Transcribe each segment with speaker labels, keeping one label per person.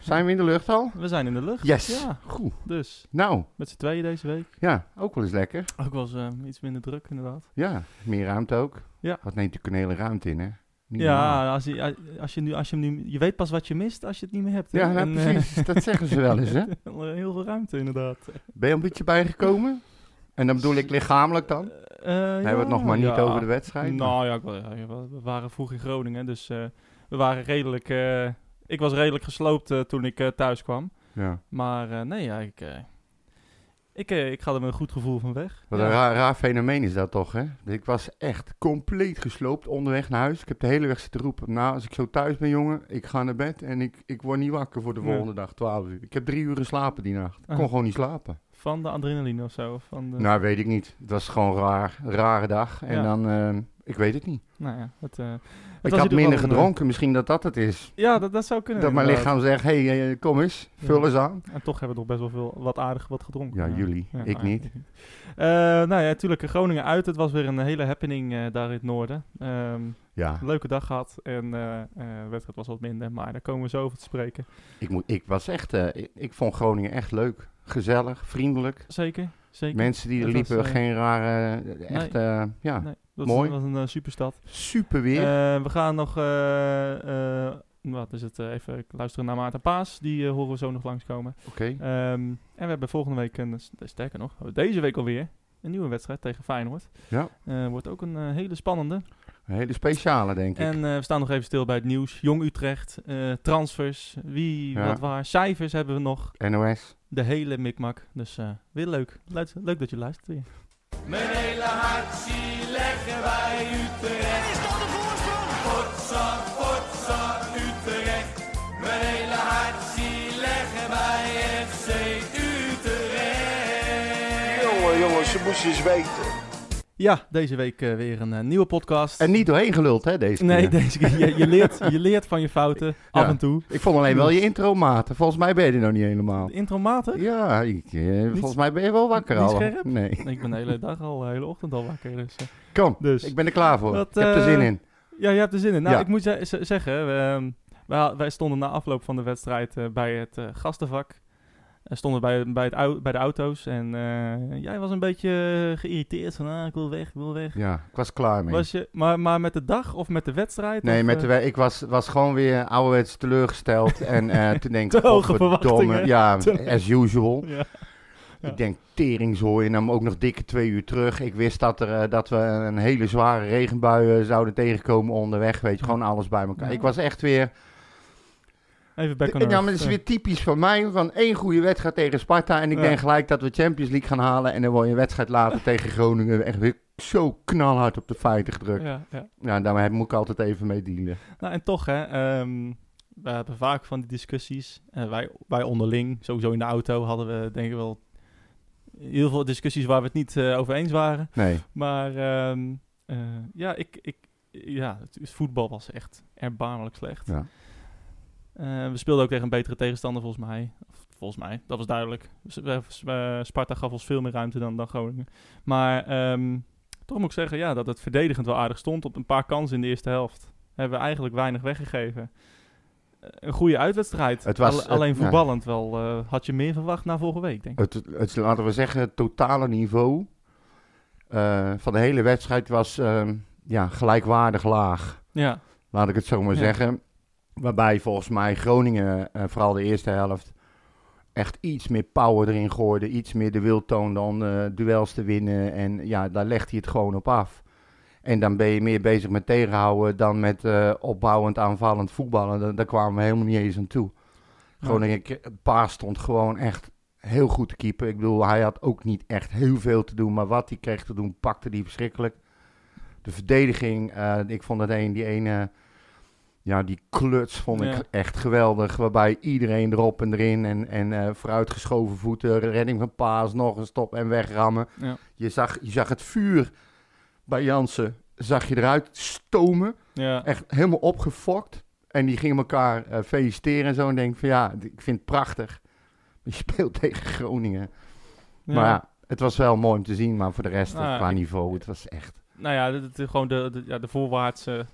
Speaker 1: Zijn we in de lucht al?
Speaker 2: We zijn in de lucht.
Speaker 1: Yes.
Speaker 2: Ja,
Speaker 1: Goed.
Speaker 2: dus
Speaker 1: Nou,
Speaker 2: met z'n tweeën deze week.
Speaker 1: ja, ook wel eens lekker.
Speaker 2: Ook was iets minder druk inderdaad.
Speaker 1: Ja, meer ruimte ook.
Speaker 2: Ja.
Speaker 1: Wat neemt de kanele ruimte in, hè? Niet normaal.
Speaker 2: ja, als je, als, je nu, als je hem nu... Je weet pas wat je mist als je het niet meer hebt. hè?
Speaker 1: Ja, nou,
Speaker 2: En, eh,
Speaker 1: precies. Dat zeggen ze wel eens, hè?
Speaker 2: Heel veel ruimte inderdaad.
Speaker 1: Ben je een beetje bijgekomen? En dan bedoel ik lichamelijk dan?
Speaker 2: Eh,
Speaker 1: We hebben het nog maar niet over de wedstrijd.
Speaker 2: Nou ja, ik wel- ja, we- we waren vroeg in Groningen, dus eh, we waren redelijk... eh, ik was redelijk gesloopt eh, toen ik eh, thuis kwam.
Speaker 1: Ja.
Speaker 2: Maar eh, nee, ja, ik, eh, ik, eh, ik ga er met een goed gevoel van weg.
Speaker 1: Wat
Speaker 2: Ja.
Speaker 1: een raar, raar fenomeen is dat toch, hè? Ik was echt compleet gesloopt onderweg naar huis. Ik heb de hele weg zitten roepen. Nou, als ik zo thuis ben, jongen, ik ga naar bed en ik, ik word niet wakker voor de
Speaker 2: Nee.
Speaker 1: volgende dag, 12 uur. Ik heb drie uur geslapen die nacht. Ik kon
Speaker 2: Ah.
Speaker 1: gewoon niet slapen.
Speaker 2: Van de adrenaline of zo. of Van de,
Speaker 1: Nou, weet ik niet. Het was gewoon raar. Een rare dag. En
Speaker 2: Ja.
Speaker 1: dan, ehm, ik weet het niet.
Speaker 2: Nou ja, het, eh, het was
Speaker 1: Ik
Speaker 2: in
Speaker 1: had
Speaker 2: ieder
Speaker 1: minder
Speaker 2: geval een,
Speaker 1: gedronken. Misschien dat dat het is.
Speaker 2: eh, Ja, dat, dat zou kunnen.
Speaker 1: Dat mijn
Speaker 2: inderdaad.
Speaker 1: lichaam zegt, hé, hey, eh, kom eens. Vul
Speaker 2: Ja.
Speaker 1: eens aan.
Speaker 2: En toch hebben we nog best wel veel wat aardig wat gedronken.
Speaker 1: Ja, jullie.
Speaker 2: Ja,
Speaker 1: ik
Speaker 2: ah,
Speaker 1: niet.
Speaker 2: Eh, nou ja, natuurlijk Groningen uit. Het was weer een hele happening eh, daar in het noorden. Ehm,
Speaker 1: Ja,
Speaker 2: leuke dag gehad en eh eh, wedstrijd was wat minder, maar daar komen we zo over te spreken.
Speaker 1: ik, moet, ik was echt... eh, ik, ik vond Groningen echt leuk. Gezellig, vriendelijk.
Speaker 2: Zeker, zeker.
Speaker 1: Mensen die er
Speaker 2: Het
Speaker 1: liepen,
Speaker 2: was, eh,
Speaker 1: geen rare... eh, Echt, eh, ja,
Speaker 2: Nee, dat
Speaker 1: mooi.
Speaker 2: was een eh, superstad.
Speaker 1: super weer.
Speaker 2: Eh, we gaan nog, eh, eh, wat is het, eh, even luisteren naar Maarten Paas. Die eh, horen we zo nog langskomen.
Speaker 1: Oké.
Speaker 2: Ehm, en we hebben volgende week, een, sterker nog, we hebben deze week alweer, een nieuwe wedstrijd tegen Feyenoord.
Speaker 1: Ja.
Speaker 2: Eh, wordt ook een eh, hele spannende.
Speaker 1: Een hele speciale, denk ik.
Speaker 2: En eh, we staan nog even stil bij het nieuws. Jong Utrecht, eh, transfers, wie,
Speaker 1: Ja.
Speaker 2: wat, waar. Cijfers hebben we nog.
Speaker 1: NOS.
Speaker 2: De hele mikmak. Dus eh, weer leuk. Leuk, leuk dat je luistert weer.
Speaker 3: Mijn hele hart zie leggen wij Utrecht. Is dat de voorsprong? Potsa, potsa, Utrecht. Mijn hele hart zie leggen wij FC Utrecht.
Speaker 4: Jongen, jongen, ze moest eens weten.
Speaker 2: Ja, deze week eh, weer een eh, nieuwe podcast.
Speaker 1: En niet doorheen geluld, hè, deze keer.
Speaker 2: nee, deze keer. Je, je, leert, je leert van je fouten. Af en toe.
Speaker 1: Ik vond alleen wel je intro maten. Volgens mij ben je er nog niet helemaal.
Speaker 2: De intro matig.
Speaker 1: Ja, ik, eh, volgens mij ben je wel wakker
Speaker 2: niet
Speaker 1: al.
Speaker 2: scherp?
Speaker 1: Nee.
Speaker 2: Ik ben de hele dag al, de hele ochtend al wakker. Dus, eh,
Speaker 1: Kom,
Speaker 2: Dus.
Speaker 1: ik ben er klaar voor.
Speaker 2: Dat,
Speaker 1: ik heb er zin
Speaker 2: eh,
Speaker 1: in.
Speaker 2: Ja, je hebt er zin in. Nou,
Speaker 1: Ja.
Speaker 2: ik moet ze- ze- zeggen, we, ehm, wij, wij stonden na afloop van de wedstrijd eh, bij het eh, gastenvak. En stonden bij, bij, het au- bij de auto's. En eh, jij was een beetje geïrriteerd. Van, ah, ik wil weg, ik wil weg.
Speaker 1: Ja, ik was klaar mee.
Speaker 2: Was je, maar, maar met de dag of met de wedstrijd?
Speaker 1: nee,
Speaker 2: of,
Speaker 1: met
Speaker 2: eh,
Speaker 1: de we- ik was, was gewoon weer ouderwets teleurgesteld. en eh, toen denk ik,
Speaker 2: Te hoge
Speaker 1: godverdomme,
Speaker 2: verwachtingen.
Speaker 1: Ja,
Speaker 2: Te-
Speaker 1: as usual.
Speaker 2: Ja. Ja.
Speaker 1: Ik denk, teringzooi. En dan ook nog dikke twee uur terug. Ik wist dat, er, eh, dat we een hele zware regenbui eh, zouden tegenkomen onderweg. Weet je, gewoon alles bij elkaar.
Speaker 2: Ja.
Speaker 1: Ik was echt weer...
Speaker 2: Even back on
Speaker 1: Ja, nou, maar
Speaker 2: earth.
Speaker 1: dat is
Speaker 2: Ja.
Speaker 1: weer typisch van mij. Van één goede wedstrijd tegen Sparta. En ik
Speaker 2: Ja.
Speaker 1: denk gelijk dat we Champions League gaan halen. En dan word je een wedstrijd later tegen Groningen echt weer zo knalhard op de feiten gedrukt.
Speaker 2: Ja, ja.
Speaker 1: Nou, daar moet ik altijd even mee dealen.
Speaker 2: Nou, en toch, hè. ehm, we hebben vaak van die discussies. En wij, wij onderling, sowieso in de auto, hadden we denk ik wel heel veel discussies waar we het niet eh, over eens waren.
Speaker 1: Nee.
Speaker 2: Maar ehm, eh, ja, ik, ik, ja, het is- voetbal was echt erbarmelijk slecht.
Speaker 1: Ja.
Speaker 2: Eh, we speelden ook tegen een betere tegenstander volgens mij. Of, volgens mij, dat was duidelijk. S- we- s- eh, Sparta gaf ons veel meer ruimte dan, dan Groningen. Maar ehm, toch moet ik zeggen ja, dat het verdedigend wel aardig stond. Op een paar kansen in de eerste helft hebben we eigenlijk weinig weggegeven. Eh, Een goede uitwedstrijd.
Speaker 1: Het was-
Speaker 2: Al- alleen
Speaker 1: het- ja.
Speaker 2: voetballend wel. eh, had je meer verwacht na vorige week, denk ik.
Speaker 1: Het, het, laten we zeggen, het totale niveau eh, van de hele wedstrijd was ehm, ja, gelijkwaardig laag.
Speaker 2: Ja,
Speaker 1: Laat ik het zo maar
Speaker 2: Ja.
Speaker 1: zeggen. Waarbij volgens mij Groningen, eh, vooral de eerste helft, echt iets meer power erin gooide. Iets meer de wil toonde om eh, duels te winnen. En ja, daar legt hij het gewoon op af. En dan ben je meer bezig met tegenhouden dan met eh, opbouwend aanvallend voetballen. Daar, daar kwamen we helemaal niet eens aan toe. Groningen, Paas eh, stond gewoon echt heel goed te keeper. Ik bedoel, hij had ook niet echt heel veel te doen. Maar wat hij kreeg te doen, pakte die verschrikkelijk. De verdediging, eh, ik vond dat een, die ene... Ja, die kluts vond
Speaker 2: Ja.
Speaker 1: ik echt geweldig. Waarbij iedereen erop en erin en, en eh, vooruitgeschoven voeten, redding van Paas, nog een stop en wegrammen.
Speaker 2: Ja.
Speaker 1: Je, zag, je zag het vuur bij Jansen, zag je eruit stomen.
Speaker 2: ja.
Speaker 1: Echt helemaal opgefokt. En die gingen elkaar eh, feliciteren en zo. En denk ik van ja, d- ik vind het prachtig. Je speelt tegen Groningen. Maar ja, het was wel mooi om te zien. Maar voor de rest,
Speaker 2: Nou ja,
Speaker 1: qua
Speaker 2: ik-
Speaker 1: niveau, het was echt...
Speaker 2: Nou ja, dit- dit- gewoon de, de, ja, de voorwaartse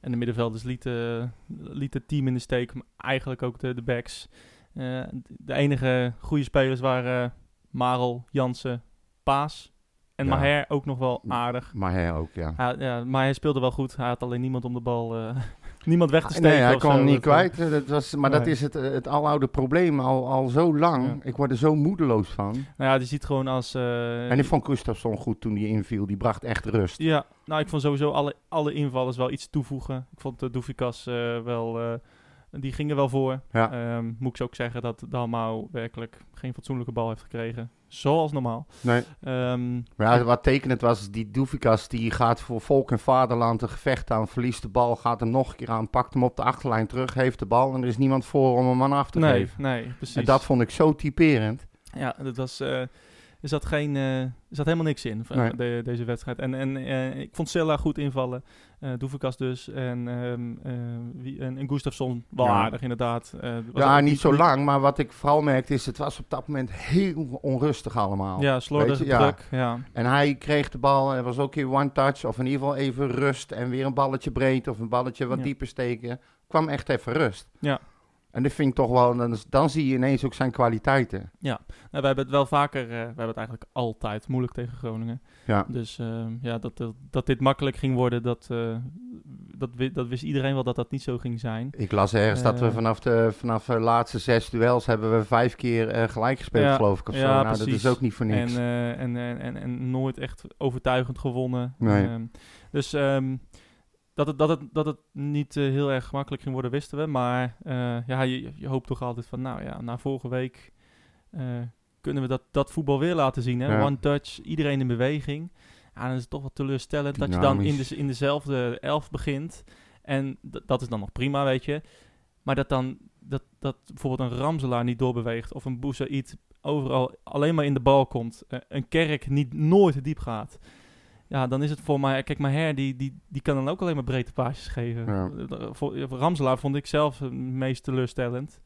Speaker 2: En de middenvelders lieten, lieten het team in de steek, maar eigenlijk ook de, de backs. Eh, de enige goede spelers waren eh, Marel, Jansen, Paas en
Speaker 1: Ja. Mm.
Speaker 2: Maher ook nog wel aardig.
Speaker 1: Maar hij ook, ja.
Speaker 2: Hij, ja, maar hij speelde wel goed. Hij had alleen niemand om de bal, eh, niemand weg te steken.
Speaker 1: nee, hij
Speaker 2: of
Speaker 1: kwam
Speaker 2: zo.
Speaker 1: niet
Speaker 2: Dat, eh,
Speaker 1: kwijt. Eh, Dat was, maar dat
Speaker 2: Nee.
Speaker 1: is het, eh, het aloude probleem al, al zo lang.
Speaker 2: Ja.
Speaker 1: Ik word er zo moedeloos van.
Speaker 2: Nou ja, die ziet gewoon als... eh,
Speaker 1: En ik vond Gustafsson goed toen die inviel. Die bracht echt rust.
Speaker 2: Ja, nou ik vond sowieso alle, alle invallers wel iets toevoegen. Ik vond de Doefikas eh, wel, eh, die gingen wel voor.
Speaker 1: Ja.
Speaker 2: Ehm, moet ik ze ook zeggen dat Dalmau werkelijk geen fatsoenlijke bal heeft gekregen. Zoals normaal.
Speaker 1: Nee.
Speaker 2: Ehm,
Speaker 1: Maar ja, wat tekenend was, die Doefikas die gaat voor volk en vaderland een gevecht aan. Verliest de bal, gaat hem nog een keer aan. Pakt hem op de achterlijn terug, heeft de bal. En er is niemand voor om hem aan af te
Speaker 2: nee,
Speaker 1: geven.
Speaker 2: nee, precies.
Speaker 1: En dat vond ik zo typerend.
Speaker 2: Ja, dat was, eh, er, zat geen, eh, er zat helemaal niks in van
Speaker 1: Nee.
Speaker 2: de- deze wedstrijd. En, en eh, ik vond Silla goed invallen. eh Doefikas dus. En, ehm eh, wie, en, en Gustafsson wel
Speaker 1: Ja.
Speaker 2: aardig inderdaad. Eh, was
Speaker 1: ja,
Speaker 2: ook
Speaker 1: niet zo lang. Maar wat ik vooral merkte is, het was op dat moment heel onrustig allemaal.
Speaker 2: Ja, slordig,
Speaker 1: Weet je, ja.
Speaker 2: druk. Ja.
Speaker 1: En hij kreeg de bal en er was ook weer one touch. Of in ieder geval even rust. En weer een balletje breed of een balletje wat
Speaker 2: Ja.
Speaker 1: dieper steken. Kwam echt even rust.
Speaker 2: Ja.
Speaker 1: En dat vind ik toch wel, dan, dan zie je ineens ook zijn kwaliteiten.
Speaker 2: Nou, we hebben het wel vaker, eh, we hebben het eigenlijk altijd moeilijk tegen Groningen.
Speaker 1: Ja.
Speaker 2: Dus eh, ja, dat, dat, dat dit makkelijk ging worden, dat, eh, dat, wi- dat wist iedereen wel dat dat niet zo ging zijn.
Speaker 1: Ik las ergens dat we
Speaker 2: Eh.
Speaker 1: vanaf de vanaf de laatste zes duels hebben we vijf keer eh, gelijk gespeeld,
Speaker 2: Ja,
Speaker 1: geloof ik. Of zo.
Speaker 2: ja,
Speaker 1: nou, dat
Speaker 2: precies.
Speaker 1: is ook niet voor
Speaker 2: En,
Speaker 1: niks.
Speaker 2: eh, en, en, en, en nooit echt overtuigend gewonnen.
Speaker 1: Nee.
Speaker 2: Ehm, dus ehm, dat, het, dat, het, dat het niet eh, heel erg makkelijk ging worden, wisten we. Maar eh, ja, je, je hoopt toch altijd van, nou ja, na vorige week eh, kunnen we dat, dat voetbal weer laten zien. Hè?
Speaker 1: Ja.
Speaker 2: One touch, iedereen in beweging. Ja, dan is het toch wat teleurstellend dat je dan in,
Speaker 1: Dynamisch.
Speaker 2: de, in dezelfde elf begint. En d- dat is dan nog prima, weet je. Maar dat dan dat, dat bijvoorbeeld een Ramselaar niet doorbeweegt of een Boussaïd overal alleen maar in de bal komt, eh, een Kerk niet nooit diep gaat. Ja, dan is het voor mij... Kijk, Maher, die, die, die kan dan ook alleen maar breedte paasjes geven.
Speaker 1: Ja.
Speaker 2: Eh, voor- eh, Ramselaar vond ik zelf het meest teleurstellend.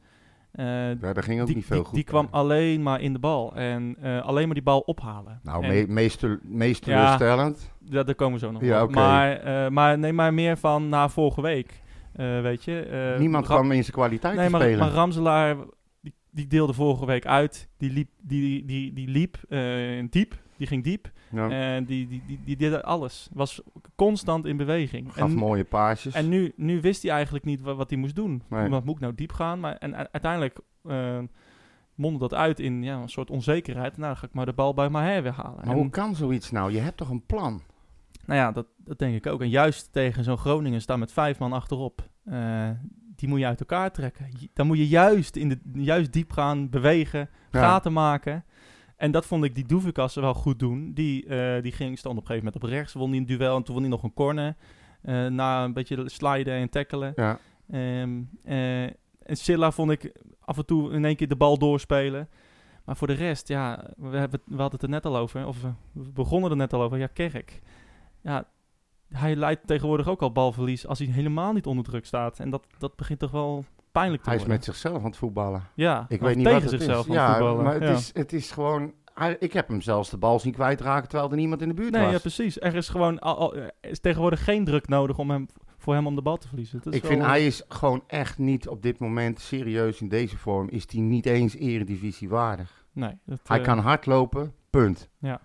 Speaker 2: Eh,
Speaker 1: ja, daar ging ook
Speaker 2: die,
Speaker 1: niet veel
Speaker 2: die,
Speaker 1: goed. eh.
Speaker 2: die kwam
Speaker 1: aan.
Speaker 2: alleen maar in de bal. En eh, alleen maar die bal ophalen.
Speaker 1: Nou,
Speaker 2: En
Speaker 1: me- meest, te- meest
Speaker 2: Ja.
Speaker 1: teleurstellend.
Speaker 2: da- daar komen we zo nog
Speaker 1: Ja,
Speaker 2: op.
Speaker 1: oké.
Speaker 2: Maar, eh, maar nee, maar meer van na vorige week. eh, weet je. eh,
Speaker 1: Niemand
Speaker 2: Ra-
Speaker 1: kwam in zijn kwaliteit
Speaker 2: Nee,
Speaker 1: te
Speaker 2: maar,
Speaker 1: spelen.
Speaker 2: maar Ramselaar, die, die deelde vorige week uit. Die liep, die, die, die liep eh, diep. Die ging diep.
Speaker 1: Ja,
Speaker 2: En die, die, die, die deed alles. Was constant in beweging.
Speaker 1: gaf
Speaker 2: en,
Speaker 1: mooie paasjes.
Speaker 2: en nu, nu wist hij eigenlijk niet wa- wat hij moest doen.
Speaker 1: Nee.
Speaker 2: Wat moet ik nou diep gaan? Maar, en u- uiteindelijk eh mondde dat uit in ja, een soort onzekerheid. Nou, dan ga ik maar de bal bij Maher weer halen.
Speaker 1: maar
Speaker 2: En-
Speaker 1: hoe kan zoiets nou? Je hebt toch een plan?
Speaker 2: nou ja, dat, dat denk ik ook. En juist tegen zo'n Groningen staan met vijf man achterop. eh, die moet je uit elkaar trekken. Ju- Dan moet je juist, in de, juist diep gaan bewegen,
Speaker 1: Ja.
Speaker 2: gaten maken. En dat vond ik die Doevikas wel goed doen. Die, eh, die ging, stond op een gegeven moment op rechts, won die een duel en toen won hij nog een corner. Eh, na een beetje sliden en tackelen.
Speaker 1: Ja.
Speaker 2: Ehm, eh, en Silla vond ik af en toe in één keer de bal doorspelen. Maar voor de rest, ja, we, hebben, we hadden het er net al over. Of we we begonnen er net al over. Ja, Kerk. Ja, hij leidt tegenwoordig ook al balverlies als hij helemaal niet onder druk staat. En dat, dat begint toch wel pijnlijk te
Speaker 1: Hij is
Speaker 2: worden.
Speaker 1: met zichzelf aan het voetballen.
Speaker 2: ja,
Speaker 1: Ik
Speaker 2: of
Speaker 1: weet niet
Speaker 2: tegen
Speaker 1: wat het
Speaker 2: zichzelf
Speaker 1: is.
Speaker 2: aan het
Speaker 1: Ja,
Speaker 2: voetballen.
Speaker 1: maar het,
Speaker 2: Ja.
Speaker 1: Is, het is gewoon... hij- Ik heb hem zelfs de bal zien kwijtraken terwijl er niemand in de buurt
Speaker 2: Nee,
Speaker 1: was.
Speaker 2: ja, precies. Er is gewoon al, al- er is tegenwoordig geen druk nodig om hem, voor hem om de bal te verliezen. Dat is
Speaker 1: ik vind
Speaker 2: wel-
Speaker 1: hij is gewoon echt niet op dit moment serieus in deze vorm. Is hij niet eens eredivisie waardig.
Speaker 2: Nee, dat,
Speaker 1: Hij
Speaker 2: eh,
Speaker 1: kan hardlopen, punt.
Speaker 2: Ja.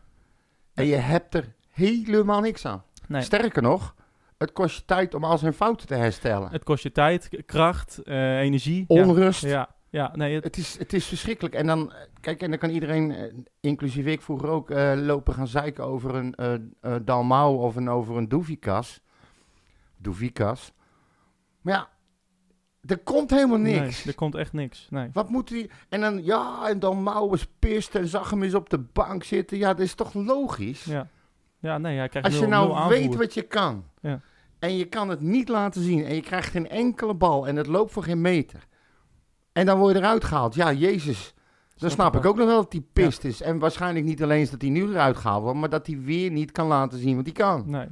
Speaker 1: En je hebt er helemaal niks aan.
Speaker 2: nee.
Speaker 1: Sterker nog, het kost je tijd om al zijn fouten te herstellen.
Speaker 2: Het kost je tijd, k- kracht, eh, energie. Ja.
Speaker 1: Onrust.
Speaker 2: Ja, ja nee, het,
Speaker 1: Het is, het is verschrikkelijk. En dan, eh, kijk, en dan kan iedereen, eh, inclusief ik vroeger ook, eh, lopen gaan zeiken over een eh eh, Dalmau of een, over een Doevikas. Doevikas. Maar ja, er komt helemaal niks.
Speaker 2: nee, er komt echt niks. Nee.
Speaker 1: Wat moet hij? En dan, ja, en Dalmau was pist en zag hem eens op de bank zitten. Ja, dat is toch logisch?
Speaker 2: Ja. ja, nee, hij krijgt
Speaker 1: Als je
Speaker 2: nul- nul
Speaker 1: nou
Speaker 2: aanvoer.
Speaker 1: weet wat je kan
Speaker 2: Ja.
Speaker 1: en je kan het niet laten zien en je krijgt geen enkele bal en het loopt voor geen meter. En dan word je eruit gehaald. Ja, Jezus. Dan snap ik ook nog wel dat hij pist is. En waarschijnlijk niet alleen eens dat hij nu eruit gehaald wordt, maar dat hij weer niet kan laten zien wat hij kan.
Speaker 2: Nee.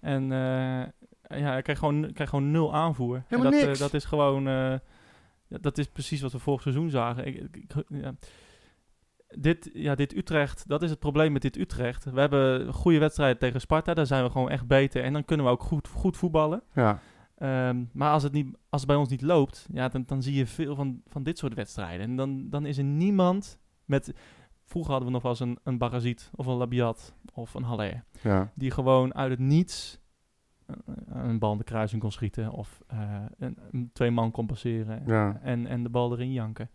Speaker 2: En eh, ja, hij krijgt gewoon, krijgt gewoon nul aanvoer. En
Speaker 1: Helemaal
Speaker 2: dat, eh,
Speaker 1: niks.
Speaker 2: dat is gewoon... eh, ja, dat is precies wat we vorig seizoen zagen. Ik, ik- ik- ja. Dit, ja, dit Utrecht, dat is het probleem met dit Utrecht. We hebben een goede wedstrijd tegen Sparta, daar zijn we gewoon echt beter. En dan kunnen we ook goed, goed voetballen.
Speaker 1: Ja.
Speaker 2: Eh, Ehm, maar als het, niet, als het bij ons niet loopt, ja, dan, dan zie je veel van, van dit soort wedstrijden. En dan, dan is er niemand met... Vroeger hadden we nog wel eens een, een Barazit of een Labiat of een Haller.
Speaker 1: Ja.
Speaker 2: Die gewoon uit het niets een, een bal in de kruising kon schieten of eh, een, een twee man kon passeren
Speaker 1: Ja.
Speaker 2: en, en de bal erin janken.